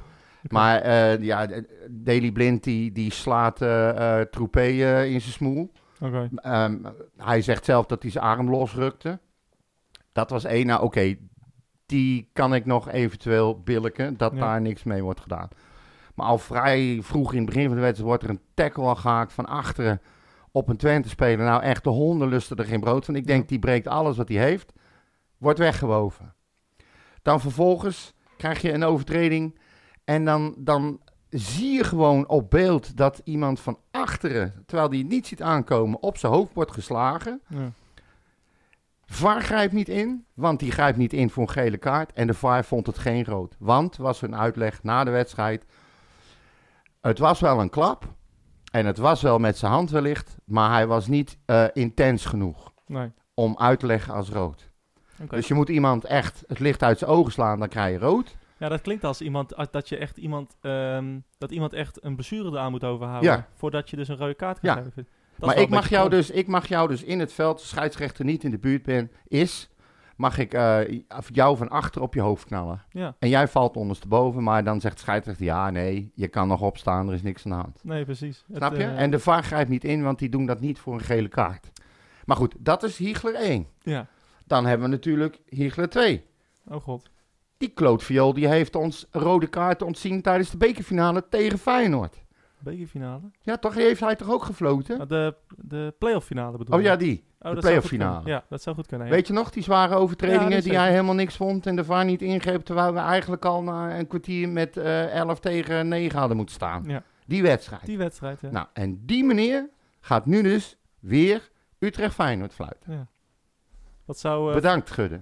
Speaker 1: Maar eh ja, Daily Blind die, die slaat eh eh, Troepé eh, in zijn smoel.
Speaker 2: Oké.
Speaker 1: Ehm, hij zegt zelf dat hij zijn arm losrukte. Dat was één. Nou, oké, die kan ik nog eventueel billiken, dat
Speaker 2: Ja.
Speaker 1: daar niks mee wordt gedaan. Maar al vrij vroeg in het begin van de wedstrijd wordt er een tackle al gehaakt van achteren op een Twente-speler. Nou, echt, de honden lusten er geen brood van. Ik denk, die breekt alles wat hij heeft, wordt weggewoven. Dan vervolgens krijg je een overtreding en dan, dan zie je gewoon op beeld dat iemand van achteren, terwijl die het niet ziet aankomen, op zijn hoofd wordt geslagen.
Speaker 2: Ja.
Speaker 1: VAR grijpt niet in, want die grijpt niet in voor een gele kaart. En de VAR vond het geen rood. Want, was hun uitleg na de wedstrijd, het was wel een klap. En het was wel met zijn hand wellicht, maar hij was niet eh, intens genoeg
Speaker 2: Nee.
Speaker 1: om uit te leggen als rood.
Speaker 2: Oké.
Speaker 1: Dus je moet iemand echt het licht uit zijn ogen slaan, dan krijg je rood.
Speaker 2: Ja, dat klinkt als iemand als dat je echt iemand ehm, dat iemand echt een blessure eraan moet overhouden
Speaker 1: Ja.
Speaker 2: voordat je dus een rode kaart kan
Speaker 1: Ja.
Speaker 2: geven. Dat
Speaker 1: maar
Speaker 2: is
Speaker 1: ik
Speaker 2: wel een
Speaker 1: mag,
Speaker 2: beetje
Speaker 1: jou
Speaker 2: krom.
Speaker 1: dus, ik mag jou dus in het veld, als de scheidsrechter niet in de buurt ben, is, mag ik eh, jou van achter op je hoofd knallen.
Speaker 2: Ja,
Speaker 1: En jij valt ondersteboven, maar dan zegt de scheidsrechter... ja, nee, je kan nog opstaan, er is niks aan de hand.
Speaker 2: nee, precies. Het,
Speaker 1: Snap je?
Speaker 2: eh,
Speaker 1: En de VAR grijpt niet in, want die doen dat niet voor een gele kaart. Maar goed, dat is Hiegler 1.
Speaker 2: Ja.
Speaker 1: Dan hebben we natuurlijk Hiegler 2.
Speaker 2: Oh god.
Speaker 1: Die klootviool die heeft ons rode kaart ontzien tijdens de bekerfinale tegen Feyenoord.
Speaker 2: Bekerfinale.
Speaker 1: Ja, toch Die heeft hij toch ook gefloten?
Speaker 2: Nou, de de playoff finale bedoel
Speaker 1: Oh
Speaker 2: je?
Speaker 1: ja, die.
Speaker 2: Oh, dat zou goed
Speaker 1: playoff
Speaker 2: kunnen.
Speaker 1: finale.
Speaker 2: Ja, dat zou goed kunnen. ja.
Speaker 1: Weet je nog, die zware overtredingen
Speaker 2: Ja, dat
Speaker 1: die
Speaker 2: zeker.
Speaker 1: hij helemaal niks vond en de VAR niet ingreep, terwijl we eigenlijk al na een kwartier met eh 11 tegen 9 hadden moeten staan.
Speaker 2: Ja.
Speaker 1: Die wedstrijd.
Speaker 2: Die wedstrijd, ja.
Speaker 1: Nou, en die meneer gaat nu dus weer Utrecht-Feyenoord fluiten.
Speaker 2: Wat zou... eh
Speaker 1: Bedankt, Gudde.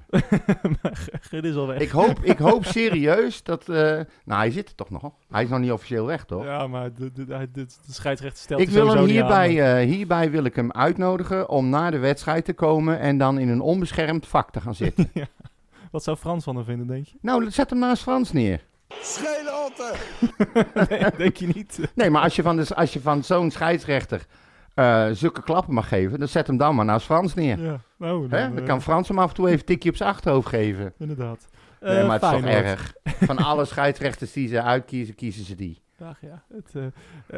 Speaker 2: Gud is al weg.
Speaker 1: Ik hoop, ik hoop serieus dat... eh, nou, hij zit er toch nog? Hij is nog niet officieel weg, toch?
Speaker 2: Ja, maar de, de, de, de scheidsrechter stelt
Speaker 1: ik
Speaker 2: er
Speaker 1: wil hem
Speaker 2: sowieso niet aan,
Speaker 1: hierbij, eh, hierbij wil ik hem uitnodigen om na de wedstrijd te komen en dan in een onbeschermd vak te gaan zitten.
Speaker 2: maar eh. Wat zou Frans van hem vinden, denk je?
Speaker 1: nou, zet hem naast Frans neer.
Speaker 4: Schelen otten!
Speaker 2: nee, denk je niet.
Speaker 1: Nee, maar als je van, de- als je van zo'n scheidsrechter eh zulke klappen mag geven, dan zet hem dan maar naast Frans neer.
Speaker 2: Ja, nou,
Speaker 1: Hè?
Speaker 2: eh,
Speaker 1: Dan kan Frans hem af en toe even een tikje op zijn achterhoofd geven.
Speaker 2: Inderdaad.
Speaker 1: Nee,
Speaker 2: Eh,
Speaker 1: maar het is toch
Speaker 2: Feyenoord.
Speaker 1: erg. Van alle scheidsrechters die ze uitkiezen, kiezen ze die.
Speaker 2: Ach ja, het, eh,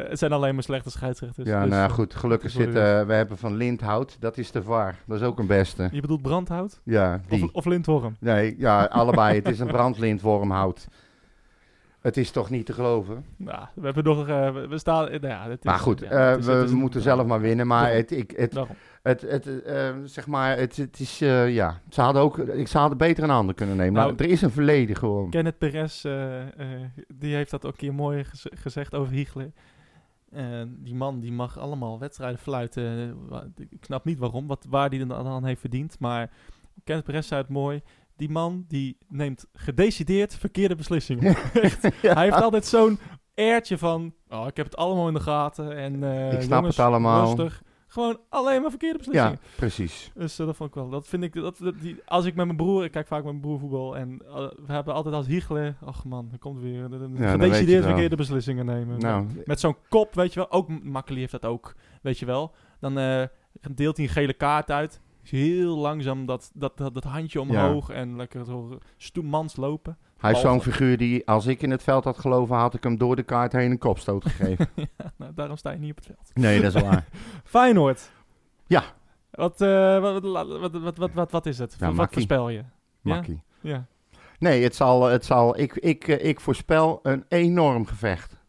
Speaker 2: eh, het zijn alleen maar slechte scheidsrechters.
Speaker 1: ja,
Speaker 2: dus,
Speaker 1: nou ja,
Speaker 2: eh,
Speaker 1: goed. Gelukkig
Speaker 2: het is
Speaker 1: zit,
Speaker 2: wat
Speaker 1: eh, we hebben van Lindhout, dat is de VAR. Dat is ook een beste.
Speaker 2: Je bedoelt Brandhout
Speaker 1: Ja,
Speaker 2: of,
Speaker 1: die.
Speaker 2: of Lindworm?
Speaker 1: Nee, ja, allebei. Het is een brandlintwormhout. Het is toch niet te geloven?
Speaker 2: Nou, we hebben nog... eh, we- we staan... eh, nou ja, het is,
Speaker 1: Maar goed,
Speaker 2: ja,
Speaker 1: eh,
Speaker 2: het is- het
Speaker 1: we
Speaker 2: is-
Speaker 1: moeten zelf maar winnen. Maar het, ik, het,
Speaker 2: Daarom.
Speaker 1: het, het, eh, eh, zeg maar, het, het is, eh, ja. Ze hadden ook, ik, ze hadden beter een ander kunnen nemen.
Speaker 2: Nou,
Speaker 1: maar er is een verleden gewoon.
Speaker 2: Kenneth Perez, eh, eh, die heeft dat ook een keer mooi gez- gezegd over Hiegler. Eh, die man die mag allemaal wedstrijden fluiten. Eh, wa- Ik snap niet waarom, wat, waar die dan aan heeft verdiend. Maar Kenneth Perez zei het mooi. Die man die neemt gedecideerd verkeerde beslissingen. Echt. Hij heeft altijd zo'n airtje van... Oh, ik heb het allemaal in de gaten. En, eh,
Speaker 1: Ik snap
Speaker 2: jongens,
Speaker 1: het allemaal."
Speaker 2: Rustig. Gewoon alleen maar verkeerde beslissingen.
Speaker 1: Ja, precies.
Speaker 2: Dus eh, dat vond ik wel. Dat vind ik. Dat, dat- die, als ik met mijn broer. Ik kijk vaak met mijn broer voetbal. En eh, we hebben altijd als hiegelen. Ach man, dan komt weer. De, de,
Speaker 1: weet je
Speaker 2: gedecideerd
Speaker 1: het wel.
Speaker 2: verkeerde beslissingen nemen.
Speaker 1: Nou,
Speaker 2: Met zo'n kop, weet je wel. Ook M- Makkeli heeft dat ook. Weet je wel. Dan eh, deelt hij een gele kaart uit. Is heel langzaam dat, dat, dat, dat handje omhoog. En lekker zo stoemans lopen.
Speaker 1: hij is zo'n
Speaker 2: Behalve-
Speaker 1: figuur die, als ik in het veld had geloven, had ik hem door de kaart heen een kopstoot gegeven.
Speaker 2: nou, daarom sta je niet op het veld.
Speaker 1: nee, dat is waar.
Speaker 2: Feyenoord.
Speaker 1: Ja.
Speaker 2: Wat, eh, wat, wat, wat, wat, wat, wat is het?
Speaker 1: Ja,
Speaker 2: wat
Speaker 1: Makkie.
Speaker 2: voorspel je?
Speaker 1: Makkie.
Speaker 2: Ja.
Speaker 1: Nee, het zal, het zal, ik, ik, eh, ik voorspel een enorm gevecht.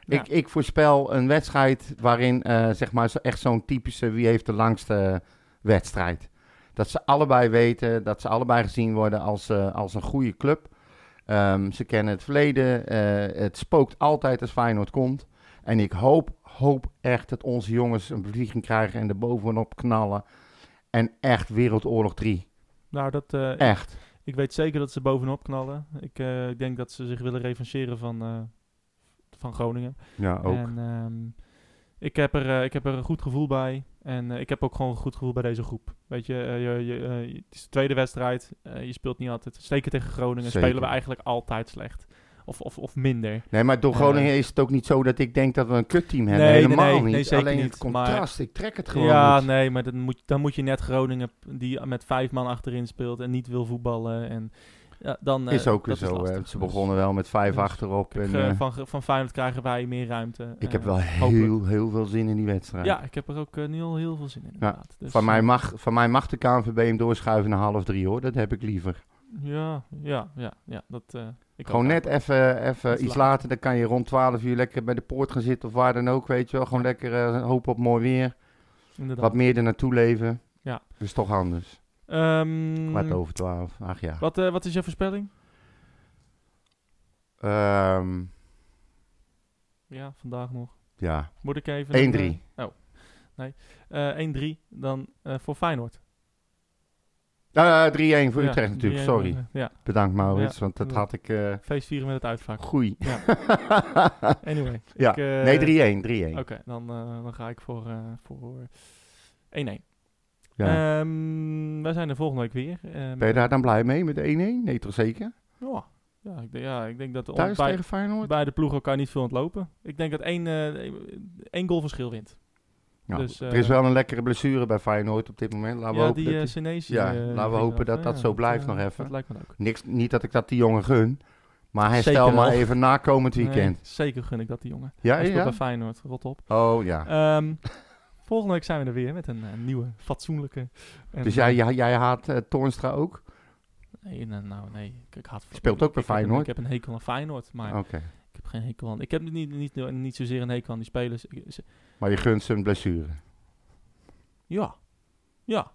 Speaker 2: Ja.
Speaker 1: Ik, ik voorspel een wedstrijd waarin eh, zeg maar zo- echt zo'n typische wie heeft de langste wedstrijd. Dat ze allebei weten, dat ze allebei gezien worden als, eh, als een goede club. Ehm, ze kennen het verleden, eh, het spookt altijd als Feyenoord komt. En ik hoop, hoop echt dat onze jongens een bevlieging krijgen en er bovenop knallen. En echt Wereldoorlog 3.
Speaker 2: Nou, dat, eh, ik-
Speaker 1: Echt.
Speaker 2: Ik weet zeker dat ze bovenop knallen. Ik eh, ik denk dat ze zich willen revancheren van, eh, van Groningen.
Speaker 1: Ja,
Speaker 2: En ehm, ik, heb er, eh, ik heb er een goed gevoel bij. En eh, ik heb ook gewoon een goed gevoel bij deze groep. Weet je, eh, je, je, eh, je- het is de tweede wedstrijd. Eh, je speelt niet altijd. Zeker tegen Groningen
Speaker 1: Zeker.
Speaker 2: spelen we eigenlijk altijd slecht. Of, of, of minder.
Speaker 1: Nee, maar door
Speaker 2: Eh,
Speaker 1: Groningen is het ook niet zo dat ik denk dat we een kutteam hebben.
Speaker 2: Nee, nee,
Speaker 1: Helemaal
Speaker 2: nee,
Speaker 1: niet.
Speaker 2: nee, zeker
Speaker 1: Alleen
Speaker 2: niet,
Speaker 1: het contrast, ik trek het gewoon
Speaker 2: Ja,
Speaker 1: niet.
Speaker 2: nee, maar dan moet, dan moet je net Groningen, p- die met vijf man achterin speelt en niet wil voetballen. En, ja, dan, eh,
Speaker 1: is ook weer
Speaker 2: dat
Speaker 1: zo. hè.
Speaker 2: lastig.
Speaker 1: Ze
Speaker 2: Dus-
Speaker 1: begonnen wel met vijf
Speaker 2: dus
Speaker 1: achterop.
Speaker 2: Kijk,
Speaker 1: En,
Speaker 2: eh,
Speaker 1: eh,
Speaker 2: van, van Feyenoord krijgen wij meer ruimte.
Speaker 1: ik
Speaker 2: Eh,
Speaker 1: heb wel heel,
Speaker 2: hopelijk.
Speaker 1: heel veel zin in die wedstrijd.
Speaker 2: Ja, ik heb er ook eh, nu al heel veel zin in. Inderdaad. Dus,
Speaker 1: Van, mij mag, van mij mag de KNVB hem doorschuiven naar half drie hoor. Dat heb ik liever.
Speaker 2: Ja, ja, ja, ja. Dat, eh, ik
Speaker 1: Gewoon
Speaker 2: ook.
Speaker 1: net even, even
Speaker 2: Iets
Speaker 1: iets
Speaker 2: later.
Speaker 1: later, dan kan je rond 12 uur lekker bij de poort gaan zitten of waar dan ook, weet je wel. Gewoon lekker eh, hopen op mooi weer,
Speaker 2: Inderdaad.
Speaker 1: wat meer er naartoe leven.
Speaker 2: Ja.
Speaker 1: Dat is toch anders.
Speaker 2: Ehm,
Speaker 1: Kwart over 12, ach ja.
Speaker 2: wat, eh, wat is jouw voorspelling?
Speaker 1: Ehm,
Speaker 2: Ja, vandaag nog.
Speaker 1: ja,
Speaker 2: Moet ik even...
Speaker 1: 1-3.
Speaker 2: eh, oh, nee. Eh 1-3 dan eh, voor Feyenoord.
Speaker 1: Eh, 3-1 voor
Speaker 2: Ja,
Speaker 1: Utrecht natuurlijk,
Speaker 2: 3-1,
Speaker 1: sorry.
Speaker 2: eh, ja,
Speaker 1: Bedankt Maurits,
Speaker 2: Ja,
Speaker 1: want dat
Speaker 2: dat-
Speaker 1: had ik eh
Speaker 2: feest vieren met het uitvak.
Speaker 1: goeie.
Speaker 2: Ja. Anyway.
Speaker 1: Ja,
Speaker 2: ik, eh,
Speaker 1: nee, 3-1, 3-1.
Speaker 2: Oké, dan, eh, dan ga ik voor, eh, voor 1-1. eh,
Speaker 1: Ja.
Speaker 2: Ehm, wij zijn er volgende week weer. Ehm,
Speaker 1: ben je daar dan blij mee met 1-1? Nee, toch zeker?
Speaker 2: ja, ja, ik, denk- ja, ik denk dat de
Speaker 1: Thuis
Speaker 2: bij,
Speaker 1: tegen Feyenoord?
Speaker 2: beide ploegen elkaar niet veel aan het lopen. Ik denk dat één, eh, één goal verschil wint.
Speaker 1: Nou,
Speaker 2: dus,
Speaker 1: er is
Speaker 2: eh,
Speaker 1: wel een lekkere blessure bij Feyenoord op dit moment. Laten Nou, we
Speaker 2: ja,
Speaker 1: hopen
Speaker 2: die
Speaker 1: dat
Speaker 2: eh
Speaker 1: die-
Speaker 2: Senesi,
Speaker 1: ja,
Speaker 2: eh,
Speaker 1: laten we
Speaker 2: die
Speaker 1: hopen
Speaker 2: vindt
Speaker 1: dat
Speaker 2: eh,
Speaker 1: dat zo blijft
Speaker 2: eh,
Speaker 1: nog even.
Speaker 2: Dat lijkt me ook.
Speaker 1: Niks, niet dat ik dat die jongen gun, maar
Speaker 2: Zeker
Speaker 1: herstel maar
Speaker 2: wel.
Speaker 1: even na komend weekend.
Speaker 2: Nee, zeker gun ik dat die jongen.
Speaker 1: Ja,
Speaker 2: Hij speelt
Speaker 1: ja?
Speaker 2: bij Feyenoord, rot op.
Speaker 1: Oh ja.
Speaker 2: Ehm, volgende week zijn we er weer met een eh, nieuwe, fatsoenlijke. en-
Speaker 1: dus jij, jij, jij haat eh, Toornstra ook?
Speaker 2: Nee, nou, nou, nee. Ik, ik haat
Speaker 1: Speelt ook bij
Speaker 2: ik heb een-
Speaker 1: Feyenoord. Oh.
Speaker 2: Ik heb een hekel aan Feyenoord, maar
Speaker 1: Oké.
Speaker 2: ik heb geen hekel aan... Ik heb niet, niet, niet zozeer een hekel aan die spelers. Ik- ze-
Speaker 1: Maar je gunt ze een blessure.
Speaker 2: ja. Ja,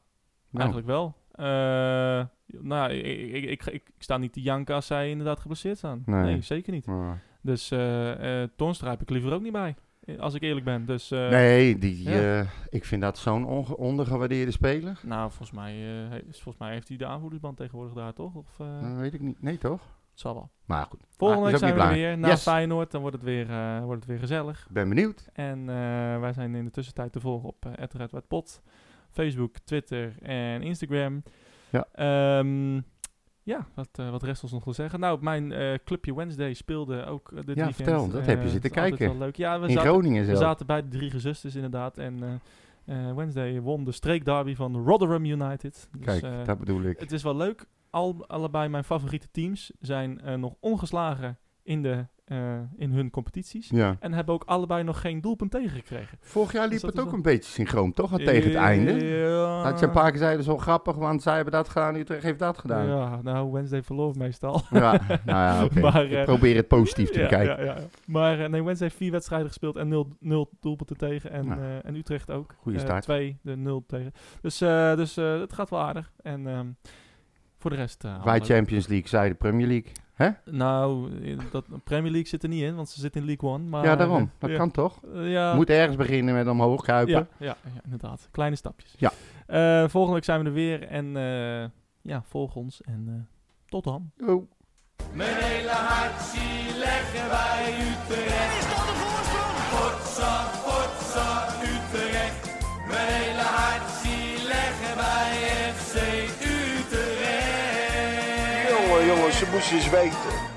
Speaker 1: Nou,
Speaker 2: eigenlijk wel. Eh, nou, ik, ik, ik, ik, ik sta niet te janken als zij inderdaad geblesseerd staan.
Speaker 1: Nee.
Speaker 2: Nee, zeker niet.
Speaker 1: maar-
Speaker 2: Dus eh eh Toornstra heb ik liever ook niet bij, eh, als ik eerlijk ben. Dus, eh,
Speaker 1: nee, die,
Speaker 2: ja.
Speaker 1: eh, ik vind dat zo'n onge- ondergewaardeerde speler.
Speaker 2: Nou, volgens mij, eh, he- is- volgens mij heeft hij de aanvoerdersband tegenwoordig daar, toch? Of, eh,
Speaker 1: Dat weet ik niet. Nee, toch?
Speaker 2: het zal wel.
Speaker 1: Maar goed,
Speaker 2: Volgende
Speaker 1: Hm. Ah, is
Speaker 2: week
Speaker 1: ook
Speaker 2: zijn
Speaker 1: niet
Speaker 2: we
Speaker 1: belangrijk.
Speaker 2: er weer. Na
Speaker 1: Yes.
Speaker 2: Feyenoord, dan wordt het, weer, eh, wordt het weer gezellig.
Speaker 1: ik ben benieuwd.
Speaker 2: En eh, wij zijn in de tussentijd te volgen op uh, @redwetpot, Facebook, Twitter en Instagram.
Speaker 1: Ja.
Speaker 2: Ehm, ja, wat, eh, wat rest ons nog te zeggen? Nou, mijn eh, clubje Wednesday speelde ook eh, dit
Speaker 1: Ja,
Speaker 2: weekend.
Speaker 1: vertel, dat
Speaker 2: Eh,
Speaker 1: heb je zitten
Speaker 2: het is altijd
Speaker 1: kijken.
Speaker 2: wel leuk. Ja, we
Speaker 1: In
Speaker 2: zaten,
Speaker 1: Groningen
Speaker 2: we
Speaker 1: zelf.
Speaker 2: zaten bij de drie gezusters inderdaad. En eh, eh, Wednesday won de streekderby van Rotherham United. Dus,
Speaker 1: Kijk,
Speaker 2: eh,
Speaker 1: dat bedoel ik.
Speaker 2: het is wel leuk. Al, allebei mijn favoriete teams zijn eh, nog ongeslagen in, de, eh, in hun competities.
Speaker 1: Ja.
Speaker 2: En hebben ook allebei nog geen doelpunt tegengekregen.
Speaker 1: Vorig jaar liep
Speaker 2: Dus dat
Speaker 1: het
Speaker 2: is
Speaker 1: ook
Speaker 2: wel-
Speaker 1: een beetje synchroon, toch? Al Tegen het einde.
Speaker 2: Ja.
Speaker 1: Dat je een paar keer zeiden, zo grappig, want zij hebben dat gedaan, Utrecht heeft dat gedaan. Ja,
Speaker 2: Ja, nou, Wednesday verloor meestal.
Speaker 1: nou ja, oké.
Speaker 2: Maar,
Speaker 1: Ik
Speaker 2: eh,
Speaker 1: probeer het positief te
Speaker 2: Ja,
Speaker 1: bekijken.
Speaker 2: ja, ja, ja. Maar eh, nee, Wednesday heeft vier wedstrijden gespeeld en nul, nul doelpunten tegen. En,
Speaker 1: Nou.
Speaker 2: eh, en Utrecht ook.
Speaker 1: Goeie
Speaker 2: Eh,
Speaker 1: start.
Speaker 2: twee, de nul tegen. Dus, eh, dus eh, het gaat wel aardig. En ehm, voor de rest... eh,
Speaker 1: Wij
Speaker 2: allemaal leuk.
Speaker 1: Champions League, zij de Premier League. Hè?
Speaker 2: Nou, eh, dat, Premier League zit er niet in, want ze zitten in League One. Maar,
Speaker 1: ja, daarom. Dat
Speaker 2: ja.
Speaker 1: kan toch?
Speaker 2: Eh, ja,
Speaker 1: Moet ergens beginnen met omhoog kruipen.
Speaker 2: ja, ja, ja, inderdaad. Kleine stapjes.
Speaker 1: Ja.
Speaker 2: Eh, volgende week zijn we er weer. En eh, ja, volg ons. En eh, tot dan.
Speaker 1: Oh.
Speaker 3: Mijn hele hart zie leggen wij Utrecht. Is dat de voorsprong? Potsa, potsa, Utrecht. Mijn hele hart zie leggen wij FC Utrecht.
Speaker 4: Jongen, jongen, ze moesten eens weten.